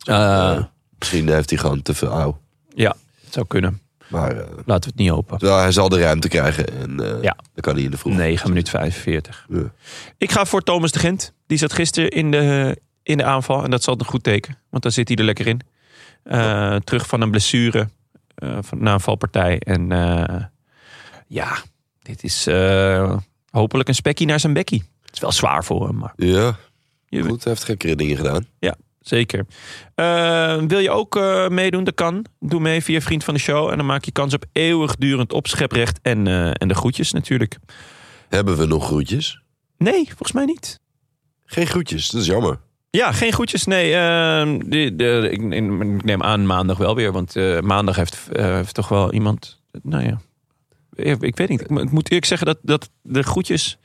S1: Eh,
S2: Eh, misschien heeft hij gewoon te veel ouw.
S1: ja, het zou kunnen.
S2: Maar eh,
S1: Laten we het niet open.
S2: terwijl hij zal de ruimte krijgen. En eh,
S1: Ja.
S2: dan kan hij in de vroeg.
S1: 9 minuten 45.
S2: Ja.
S1: Ik ga voor Thomas de Gent. Die zat gisteren in de, in de aanval. En dat zal een goed teken. Want daar zit hij er lekker in. Eh, Terug van een blessure. eh, van, na een valpartij. En eh, ja, dit is eh, hopelijk een spekkie naar zijn bekkie. Het is wel zwaar voor hem, maar
S2: Ja,
S1: Je-
S2: goed. Hij heeft gekkere dingen gedaan.
S1: Zeker. Eh, wil je ook eh, meedoen? Dat kan. Doe mee via Vriend van de Show. En dan maak je kans op eeuwigdurend opscheprecht en, eh, en de groetjes natuurlijk.
S2: Hebben we nog groetjes?
S1: Nee, volgens mij niet.
S2: Geen groetjes, dat is jammer.
S1: Ja, geen groetjes. Nee, eh, de, de- ik, ik neem aan maandag wel weer. Want eh, maandag heeft, eh, heeft toch wel iemand... Nou ja, ik, ik weet niet. Ik, mo- ik moet eerlijk zeggen dat, dat de groetjes...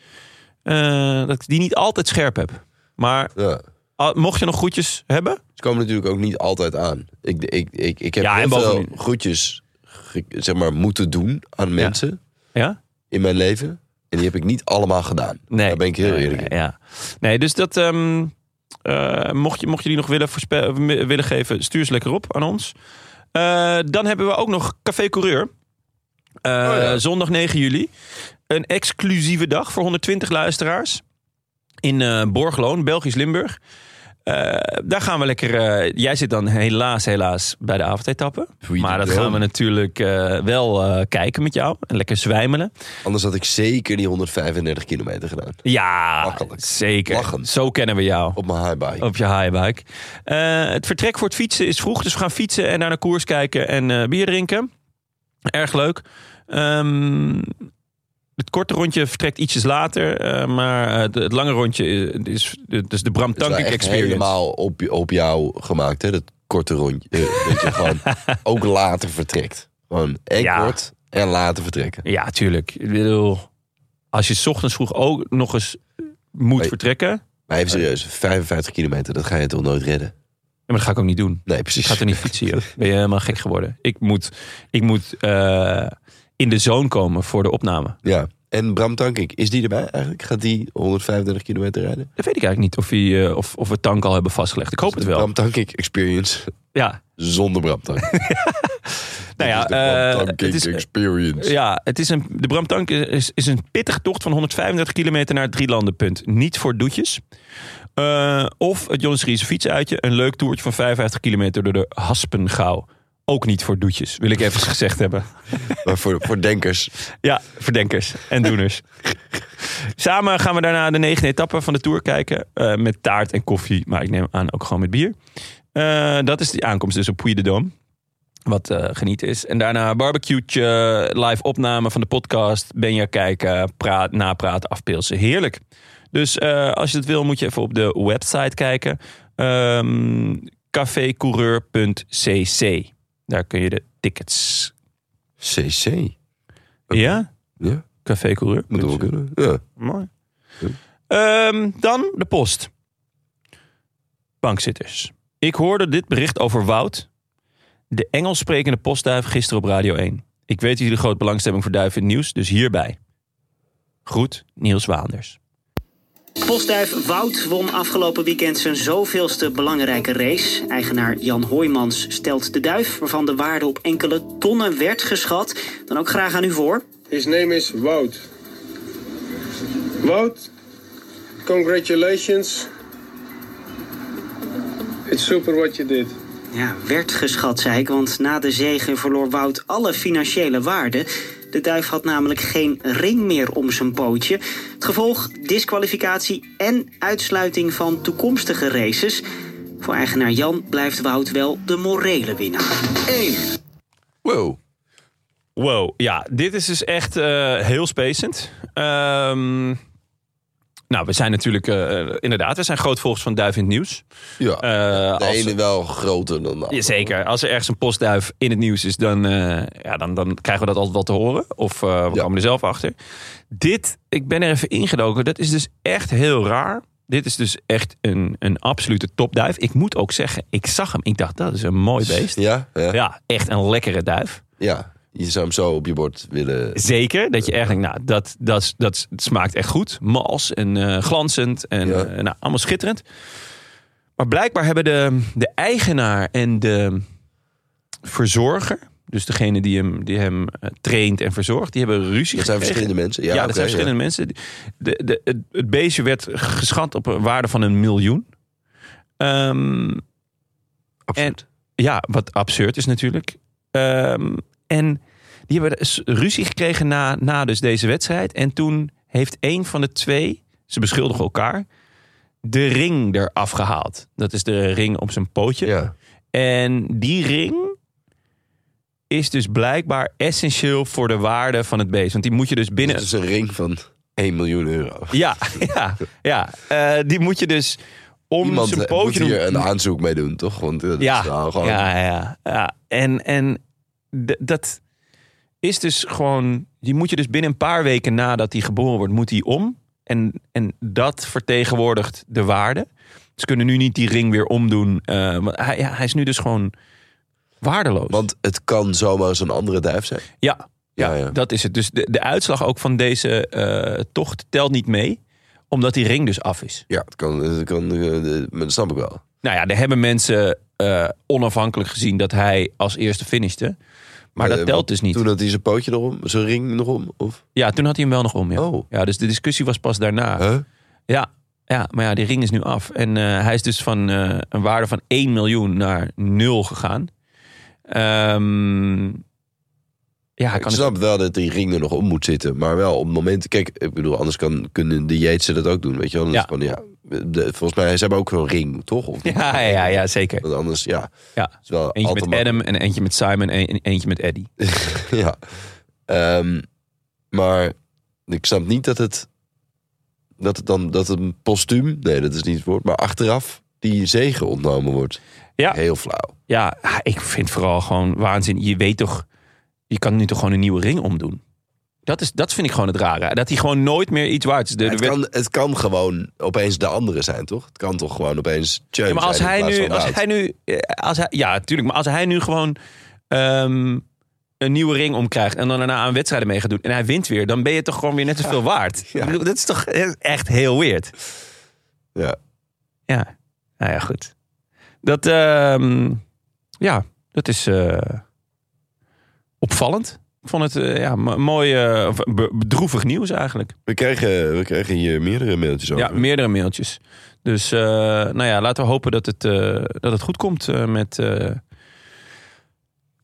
S1: eh, dat ik die niet altijd scherp heb. Maar
S2: Ja.
S1: ah, mocht je nog groetjes hebben...
S2: Ze komen natuurlijk ook niet altijd aan. Ik, ik, ik, ik heb
S1: Ja, en
S2: heel veel
S1: bovendien-
S2: groetjes ge- zeg maar, moeten doen aan mensen
S1: Ja?
S2: in mijn leven. En die heb ik niet allemaal gedaan.
S1: Nee.
S2: Daar ben ik heel
S1: Nee,
S2: eerlijk in.
S1: nee, ja. nee, dus dat. ehm, eh, mocht, je, mocht je die nog willen, voorspe- eh, m- willen geven, stuur ze lekker op aan ons. Eh, dan hebben we ook nog Café Coureur. Eh,
S2: Oh ja.
S1: Zondag 9 juli. Een exclusieve dag voor 120 luisteraars. In eh, Borgloon, Belgisch Limburg. Eh, daar gaan we lekker. eh, jij zit dan helaas, helaas bij de avondetappen.
S2: Tweet
S1: Maar
S2: het
S1: dat
S2: wel.
S1: gaan we natuurlijk eh, wel eh, kijken met jou. En lekker zwijmelen.
S2: Anders had ik zeker die 135 kilometer gedaan.
S1: Ja,
S2: Makkelijk.
S1: zeker.
S2: Lachend.
S1: Zo kennen we jou.
S2: Op mijn highbike.
S1: Op je haaibike. Eh, het vertrek voor het fietsen is vroeg. Dus we gaan fietsen en naar de koers kijken en eh, bier drinken. Erg leuk. Ehm, Het korte rondje vertrekt ietsjes later, eh, maar eh, het, het lange rondje is, is, dus de Bram
S2: Het is wel
S1: Tankink
S2: echt
S1: Experience.
S2: helemaal op, op jou gemaakt, hè? Dat korte rondje. eh, dat je gewoon ook later vertrekt. Gewoon en
S1: Ja.
S2: kort en later vertrekken.
S1: Ja, tuurlijk. Ik bedoel, als je 's ochtends vroeg ook nog eens moet
S2: Hey.
S1: vertrekken, ja,
S2: Maar even serieus, 55 kilometer, dat ga je toch nooit redden?
S1: maar dat ga ik ook niet doen.
S2: Nee,
S1: Ik
S2: precies.
S1: ga er niet fietsen, joh. Ben je helemaal gek geworden. Ik moet, ik moet eh, in de zone komen voor de opname.
S2: Ja. En Bram Tankink, is die erbij eigenlijk? Gaat die 135 kilometer rijden?
S1: Dat weet ik eigenlijk niet of, hij, eh, of, of we tank al hebben vastgelegd. Ik hoop het wel.
S2: Bram Tankink experience
S1: Ja,
S2: zonder Bram Tankink.
S1: nou ja,
S2: Dit is de Bram
S1: eh, het
S2: Tankink
S1: is,
S2: experience.
S1: ja, het is een, de Bramtank is, is een pittig tocht van 135 kilometer naar het Drielandenpunt. Niet voor doetjes. Eh, of het Jonas Riese fietsuitje. Een leuk toertje van 55 kilometer door de Haspengouw. Ook niet voor doetjes, wil ik even gezegd hebben.
S2: Maar voor, voor denkers.
S1: Ja, verdenkers en doeners. Samen gaan we daarna de negende etappe van de Tour kijken. eh, met taart en koffie, maar ik neem aan ook gewoon met bier. Eh, dat is die aankomst dus op Puy de Dôme. Wat eh, genieten is. En daarna barbecue'tje, live opname van de podcast. Benja kijken, praat, napraten, afpilsen. Heerlijk. Dus eh, als je dat wil, moet je even op de website kijken. Ehm cafécoureur.cc Daar kun je de tickets...
S2: CC.
S1: Ja?
S2: Ja,
S1: Cafécoureur.
S2: moet wel kunnen. Ja.
S1: Mooi.
S2: Ja.
S1: Ehm, dan de post. Bankzitters. Ik hoorde dit bericht over Wout. De Engels sprekende postduif gisteren op Radio 1. Ik weet dat jullie groot belangstelling voor duiven in het nieuws, dus hierbij. Groet, Niels Waanders.
S4: Postduif Wout won afgelopen weekend zijn zoveelste belangrijke race. Eigenaar Jan Hoijmans stelt de duif, waarvan de waarde op enkele tonnen werd geschat, dan ook graag aan u voor.
S5: His name is Wout. Wout, congratulations. It's super what you did.
S4: Ja, werd geschat, zei ik, want na de zege verloor Wout alle financiële waarde. De duif had namelijk geen ring meer om zijn pootje. Het gevolg: disqualificatie en uitsluiting van toekomstige races. Voor eigenaar Jan blijft Wout wel de morele winnaar.
S2: Wow.
S1: Wow, ja, dit is dus echt eh, heel spacend. Ehm, nou, we zijn natuurlijk, eh, inderdaad, we zijn groot volgers van Duif in het Nieuws.
S2: Ja.
S1: Eh,
S2: de
S1: als-
S2: ene wel groter dan de andere.
S1: Jazeker. Als er ergens een postduif in het nieuws is, dan, eh, ja, dan, dan krijgen we dat altijd wel te horen. Of eh, we
S2: Ja.
S1: komen er zelf achter. Dit, ik ben er even ingedoken. Dat is dus echt heel raar. Dit is dus echt een, een absolute topduif. Ik moet ook zeggen, ik zag hem. Ik dacht, dat is een mooi beest.
S2: Ja, ja, ja.
S1: Ja, echt een lekkere duif.
S2: Je zou hem zo op je bord willen.
S1: Zeker, dat je echt denkt, nou, dat, dat, is- dat, is- het smaakt echt goed. Mals en eh, glanzend en
S2: Ja.
S1: eh, nou, allemaal schitterend. Maar blijkbaar hebben de, de eigenaar en de verzorger, dus degene die hem, die hem eh, traint en verzorgt, die hebben ruzie
S2: Dat zijn
S1: gekregen.
S2: verschillende mensen. Ja,
S1: Ja,
S2: oké,
S1: dat zijn verschillende mensen. De, de, het, het beestje werd geschat op een waarde van een miljoen. Ehm,
S2: Absurd.
S1: En, ja, wat absurd is natuurlijk. Ehm, en die hebben s- ruzie gekregen na, na dus deze wedstrijd. En toen heeft een van de twee, ze beschuldigen elkaar, de ring eraf gehaald. Dat is de ring op zijn pootje.
S2: Ja.
S1: En die ring is dus blijkbaar essentieel voor de waarde van het beest. Want die moet je dus binnen
S2: Het is een ring van 1 miljoen euro.
S1: ja, ja, ja. Eh, die moet je dus om
S2: Iemand
S1: zijn
S2: eh, moet
S1: pootje
S2: hier
S1: doen.
S2: een aanzoek mee doen, toch? Want eh, dat
S1: ja,
S2: is nou gewoon
S1: ja, ja, ja. En, en d- dat is dus gewoon... Die moet je dus binnen een paar weken nadat hij geboren wordt, moet hij om. En, en dat vertegenwoordigt de waarde. Ze kunnen nu niet die ring weer omdoen. eh, want hij, ja, hij is nu dus gewoon waardeloos.
S2: Want het kan zomaar zo'n andere duif zijn.
S1: ja,
S2: Ja, ja.
S1: dat is het. Dus de, de uitslag ook van deze eh, tocht telt niet mee. Omdat die ring dus af is.
S2: Ja, het kan, het kan, eh, de- maar dat snap ik wel.
S1: Nou ja, daar hebben mensen eh, onafhankelijk gezien dat hij als eerste finishte. Maar
S2: Eh,
S1: dat telt
S2: want
S1: dus niet.
S2: Toen had hij zijn pootje erom, zijn ring nog om. Of?
S1: Ja, toen had hij hem wel nog om. Ja.
S2: Oh.
S1: ja, dus de discussie was pas daarna.
S2: Huh?
S1: Ja, ja, maar ja, die ring is nu af. En eh, hij is dus van eh, een waarde van 1 miljoen naar 0 gegaan. Ehm, ja,
S2: Ik
S1: kan
S2: snap wel dat die ring er nog om moet zitten. Maar wel op het moment... Kijk, ik bedoel, anders kan, kunnen de Jeetsen dat ook doen. Weet je wel? Dan is
S1: Ja.
S2: het gewoon, ja de- volgens mij, ze hebben ook zo'n ring, toch? Of niet?
S1: Ja, ja, ja, zeker.
S2: Want anders, ja. het
S1: Ja.
S2: is wel
S1: Eentje
S2: altijd
S1: met Adam en eentje met Simon en eentje met Eddie.
S2: maar- Ja. Ehm, maar Ik snap niet dat het. Dat het dan. Dat het een postuum. Nee, dat is niet het woord. Maar achteraf die zegen ontnomen wordt.
S1: Ja.
S2: Heel flauw.
S1: Ja, ik vind vooral gewoon waanzin. Je weet toch, je kan nu toch gewoon een nieuwe ring omdoen. Dat, is, dat vind ik gewoon het rare. Dat hij gewoon nooit meer iets waard is. De,
S2: Het
S1: de wet-
S2: kan, het kan gewoon opeens de andere zijn, toch? Het kan toch gewoon opeens.
S1: Ja,
S2: Chum
S1: maar als
S2: zijn
S1: hij
S2: in plaats
S1: nu,
S2: van
S1: als
S2: Wout.
S1: hij nu, eh, als hij, ja, tuurlijk, maar als hij nu gewoon ehm, een nieuwe ring omkrijgt en dan daarna aan wedstrijden mee gaat doen en hij wint weer, dan ben je toch gewoon weer net zoveel waard. Ik bedoel, Dat is toch eh, echt heel weird.
S2: Ja.
S1: Ja, nou ja, goed. Dat, ehm, ja, dat is eh, opvallend. Ik vond het eh, ja, mo- mooi, eh, of be- bedroevig nieuws eigenlijk.
S2: We krijgen, we krijgen hier meerdere mailtjes over.
S1: Ja, meerdere mailtjes. Dus eh, nou ja, laten we hopen dat het, eh, dat het goed komt eh, met, eh,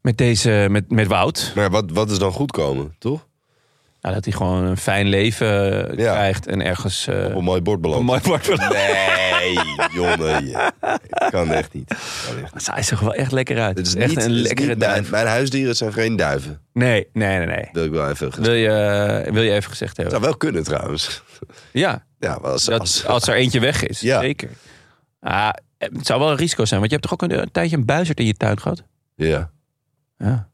S1: met deze, met, met Wout.
S2: Maar wat, wat is dan goedkomen, toch?
S1: Nou, dat hij gewoon een fijn leven eh,
S2: Ja.
S1: krijgt en ergens eh,
S2: Op een mooi bord beland.
S1: een mooi bord wil-
S2: Nee, jongen. je- Kan echt niet. Kan echt niet.
S1: Zij zag er wel echt lekker uit.
S2: Het is
S1: echt
S2: niet,
S1: een
S2: het is
S1: lekkere
S2: niet
S1: duif.
S2: Mijn, mijn huisdieren zijn geen duiven.
S1: Nee, nee, nee, nee.
S2: Dat wil ik wel even gezegd.
S1: Wil je, eh, wil je even gezegd hebben?
S2: zou wel kunnen trouwens.
S1: Ja,
S2: Ja, maar als,
S1: dat,
S2: als-
S1: als er eentje weg is.
S2: Ja.
S1: Zeker. Ah, het zou wel een risico zijn, want je hebt toch ook een, een tijdje een buizerd in je tuin gehad?
S2: ja,
S1: Ja.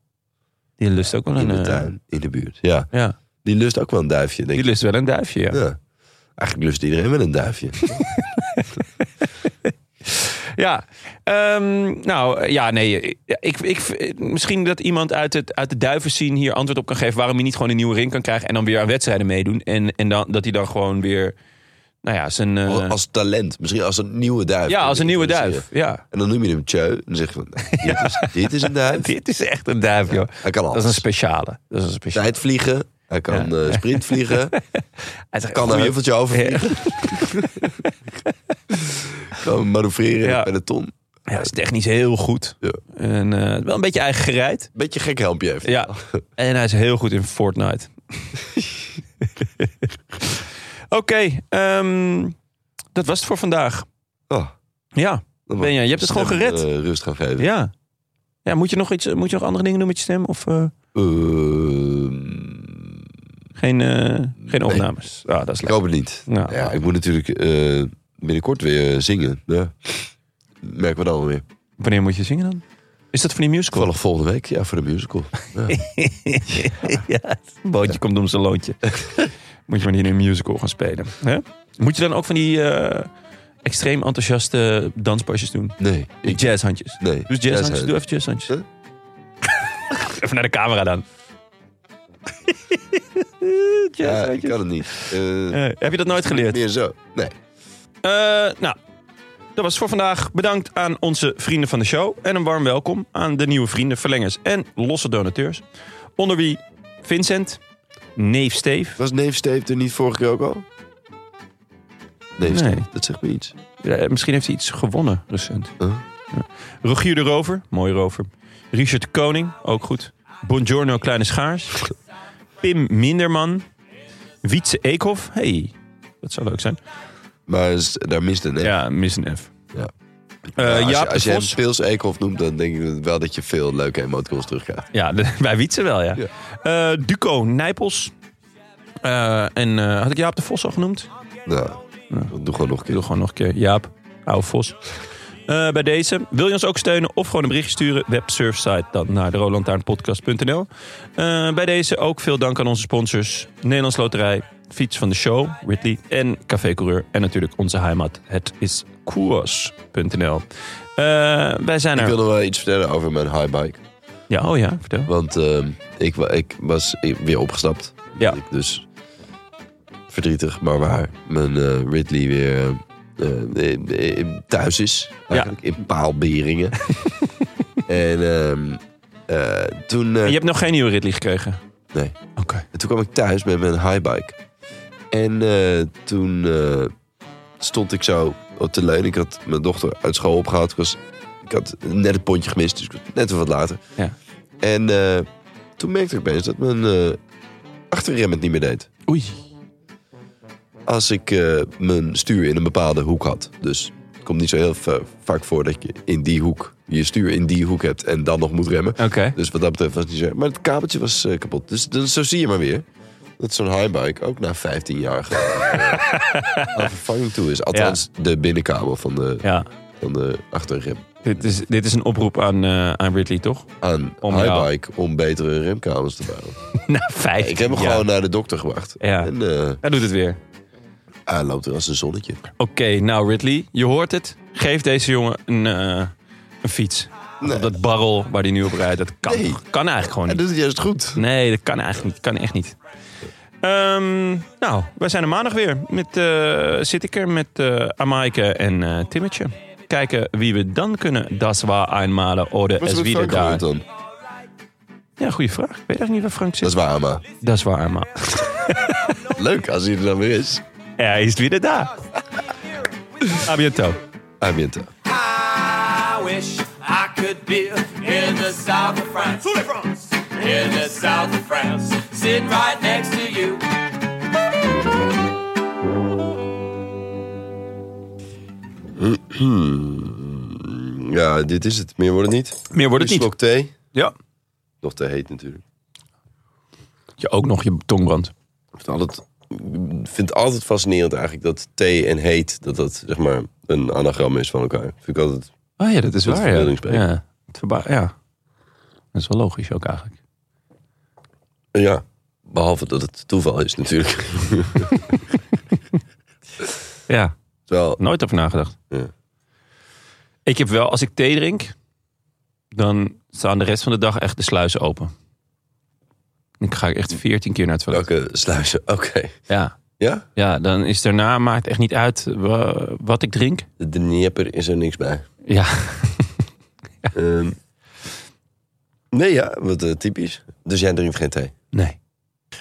S1: Die lust ook wel
S2: in
S1: een...
S2: de
S1: eh,
S2: tuin, in de buurt. Ja,
S1: Ja,
S2: die lust ook wel een duifje, denk
S1: die
S2: ik.
S1: lust wel een duifje, ja.
S2: Ja. Eigenlijk lust iedereen wel een duifje.
S1: Ja, ehm, nou eh, ja, nee. eh, Ik, ik, eh, misschien dat iemand uit, het, uit de duivenscene hier antwoord op kan geven waarom hij niet gewoon een nieuwe ring kan krijgen en dan weer aan wedstrijden meedoen. En, en dan, dat hij dan gewoon weer, nou ja, zijn. eh,
S2: Als- als talent, misschien als een nieuwe duif.
S1: ja, als een nieuwe
S2: Introduceren.
S1: duif. Ja.
S2: En dan noem je hem Tjeu. En dan zeg je van, nou, dit, is, dit is een duif.
S1: Dit is echt een duif, joh.
S2: Hij kan
S1: Dat is
S2: alles.
S1: een speciale. Dat is een speciale.
S2: Tijd vliegen. Hij kan
S1: Ja.
S2: eh, sprint vliegen.
S1: Hij is echt een
S2: Kan een
S1: goeie-
S2: heuveltje overvliegen. kan manoeuvreren
S1: Ja.
S2: bij de ton.
S1: Ja, is technisch heel goed.
S2: Ja.
S1: En eh, wel een beetje eigen gereid.
S2: Beetje gek helmpje even.
S1: Ja. En hij is heel goed in Fortnite. Oké, ehm, dat was het voor vandaag.
S2: Oh,
S1: Ja,
S2: dan
S1: Benja, je hebt het gewoon gered.
S2: eh, rust gaan geven.
S1: ja. Ja, moet je nog iets, moet je nog andere dingen doen met je stem? Of eh,
S2: Ehm,
S1: geen, eh, geen opnames? Ah, dat is
S2: ik
S1: leuk.
S2: hoop het niet.
S1: Nou,
S2: Ja, ik moet natuurlijk eh, binnenkort weer eh, zingen. Ja. Merken we dan wel weer.
S1: Wanneer moet je zingen dan? Is dat van die musical?
S2: Toevallig volgende week, ja, voor de musical. Ja.
S1: ja, het bootje komt om zijn loontje. moet je maar niet in een musical gaan spelen. Hè? Moet je dan ook van die eh, extreem enthousiaste danspasjes doen?
S2: Nee, ik...
S1: Jazzhandjes.
S2: Nee.
S1: Doe eens jazzhandjes.
S2: Jazzhand.
S1: Doe even jazzhandjes.
S2: Huh?
S1: even naar de camera dan.
S2: Ja, ik
S1: Jazzhandjes.
S2: kan het niet. Eh,
S1: Eh, heb je dat nooit geleerd?
S2: meer zo. Nee.
S1: Eh, nou, dat was het voor vandaag. Bedankt aan onze vrienden van de show. En een warm welkom aan de nieuwe vrienden, verlengers en losse donateurs. Onder wie Vincent, neef Steef.
S2: Was Neef Steef er niet vorige keer ook al? Neef Steef,
S1: Nee.
S2: dat zegt me iets.
S1: Eh, misschien heeft hij iets gewonnen recent.
S2: Huh?
S1: Ja. Rogier de Rover, mooie rover. Richard de Koning, ook goed. Buongiorno Kleine Schaars. Pim Minderman. Wietse Eekhoff. hey, dat zou leuk zijn.
S2: Maar is- daar mist een F.
S1: Ja, mis een F.
S2: Ja.
S1: Eh,
S2: Ja, als
S1: Jaap
S2: je, als
S1: de
S2: je hem
S1: Vos.
S2: Pils Eekhoff noemt, dan denk ik wel dat je veel leuke emoticons terugkrijgt.
S1: Ja, de- bij Wietse wel, ja.
S2: Ja.
S1: Eh, Duco Nijpels. Eh, en eh, had ik Jaap de Vos al genoemd?
S2: Nou, doe gewoon nog een
S1: Ik doe
S2: keer.
S1: gewoon nog een keer. Jaap, oude Vos. Eh, bij deze. Wil je ons ook steunen of gewoon een berichtje sturen? Websurfsite dan naar de rolandtaarnpodcast.nl. Eh, bij deze ook veel dank aan onze sponsors. Nederlands Loterij, Fiets van de Show, Ridley en Café Coureur. En natuurlijk onze heimat, het is koers.nl. Eh, wij zijn
S2: Ik
S1: er.
S2: wil nog wel iets vertellen over mijn highbike.
S1: Ja, oh ja, vertel.
S2: Want ehm, ik, wa- ik was i- weer opgestapt.
S1: Ja.
S2: Ik dus verdrietig, maar waar. Mijn eh, Ridley weer eh, eh, eh, thuis is. Eigenlijk in paalberingen. en ehm, eh, toen... eh,
S1: Je hebt nog geen nieuwe Ridley gekregen?
S2: Nee.
S1: Oké.
S2: En toen kwam ik thuis met mijn highbike. En eh, toen eh, stond ik zo op de leun. Ik had mijn dochter uit school opgehaald. Ik, was, ik had net het pontje gemist, dus ik was net weer wat later.
S1: Ja.
S2: En eh, toen merkte ik opeens dat mijn eh, achterrem het niet meer deed.
S1: Oei.
S2: Als ik eh, mijn stuur in een bepaalde hoek had. Dus het komt niet zo heel va- vaak voor dat je in die hoek je stuur in die hoek hebt en dan nog moet remmen.
S1: Oké.
S2: Dus wat dat betreft was het niet zo. Maar het kabeltje was eh, kapot. Dus, dus zo zie je maar weer. Dat is zo'n highbike ook na 15 jaar gewoon, eh, aan vervanging toe is. Althans, de binnenkabel van de,
S1: Ja.
S2: van de achterrem.
S1: Dit is, dit is een oproep aan, eh, aan Ridley, toch?
S2: Aan
S1: Om
S2: highbike om betere remkabels te bouwen.
S1: Na vijf.
S2: Ik heb hem
S1: jaar.
S2: gewoon naar de dokter gebracht.
S1: Ja.
S2: En eh,
S1: Hij doet het weer.
S2: hij loopt er als een zonnetje.
S1: Oké, nou Ridley, je hoort het. Geef deze jongen een, eh, een fiets.
S2: Nee.
S1: Op dat barrel waar hij nu op rijdt. Dat kan,
S2: Nee.
S1: toch- kan eigenlijk gewoon
S2: Hij
S1: niet.
S2: doet het juist goed.
S1: Nee, dat kan eigenlijk niet. Kan echt niet. Ehm, nou, wij zijn er maandag weer. Met, eh, zit ik er met eh Amaike en eh Timmetje. Kijken wie we dan kunnen. Das war einmal oder
S2: Was
S1: es
S2: er met
S1: wieder
S2: Frank
S1: da.
S2: gebeurd dan?
S1: Ja, goede vraag. Ik weet eigenlijk niet waar Frank
S2: Dat
S1: zit.
S2: is waar, maar
S1: Das war einmal.
S2: leuk als hij er dan weer is.
S1: Er ist wieder da. A bientôt.
S2: Aminta.
S6: I wish I could be in the south of France. In the south of France, sitting right next to you.
S2: Ja, dit is het. Meer wordt het niet.
S1: Meer wordt het
S2: Een
S1: niet.
S2: slok thee.
S1: Ja.
S2: Nog te heet natuurlijk.
S1: Je ook nog je tongbrand.
S2: Ik vind altijd, ik vind het altijd fascinerend eigenlijk dat thee en heet... dat dat zeg maar een anagram is van elkaar. Vind ik altijd...
S1: Ah ja, dat is
S2: Dat is
S1: waar. Ja.
S2: verbeeldingspreken.
S1: Ja. Het verba- ja. Dat is wel logisch ook eigenlijk.
S2: Ja, behalve dat het toeval is natuurlijk.
S1: Ja.
S2: Terwijl,
S1: Nooit over nagedacht.
S2: Ja.
S1: Ik heb wel, als ik thee drink, dan staan de rest van de dag echt de sluizen open. Ik ga echt veertien keer naar het toilet.
S2: welke sluizen? Oké.
S1: Ja.
S2: Ja?
S1: ja, dan is daarna, maakt echt niet uit wa- wat ik drink.
S2: De Dnieper is er niks bij.
S1: Ja,
S2: Ehm, nee, ja, wat eh, typisch. Dus jij drinkt geen thee.
S1: nee.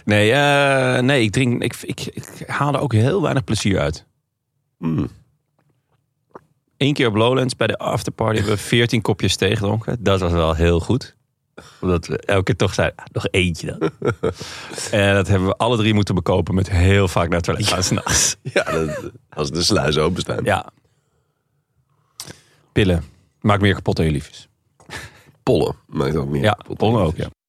S1: Nee, eh, nee ik, drink, ik, ik, ik haal er ook heel weinig plezier uit.
S2: Hmm.
S1: Eén keer op Lowlands bij de afterparty hebben we 14 kopjes thee gedronken. Dat was wel heel goed. Omdat we elke keer toch zeiden, ah, nog eentje dan. en dat hebben we alle drie moeten bekopen met heel vaak naar het toilet gaan s'nachts.
S2: Ja, dat, als de sluizen openstaan.
S1: Ja. Pillen. Maakt meer kapot dan je lief is.
S2: Pollen maakt ook meer.
S1: Ja,
S2: kapot.
S1: pollen ook, ja.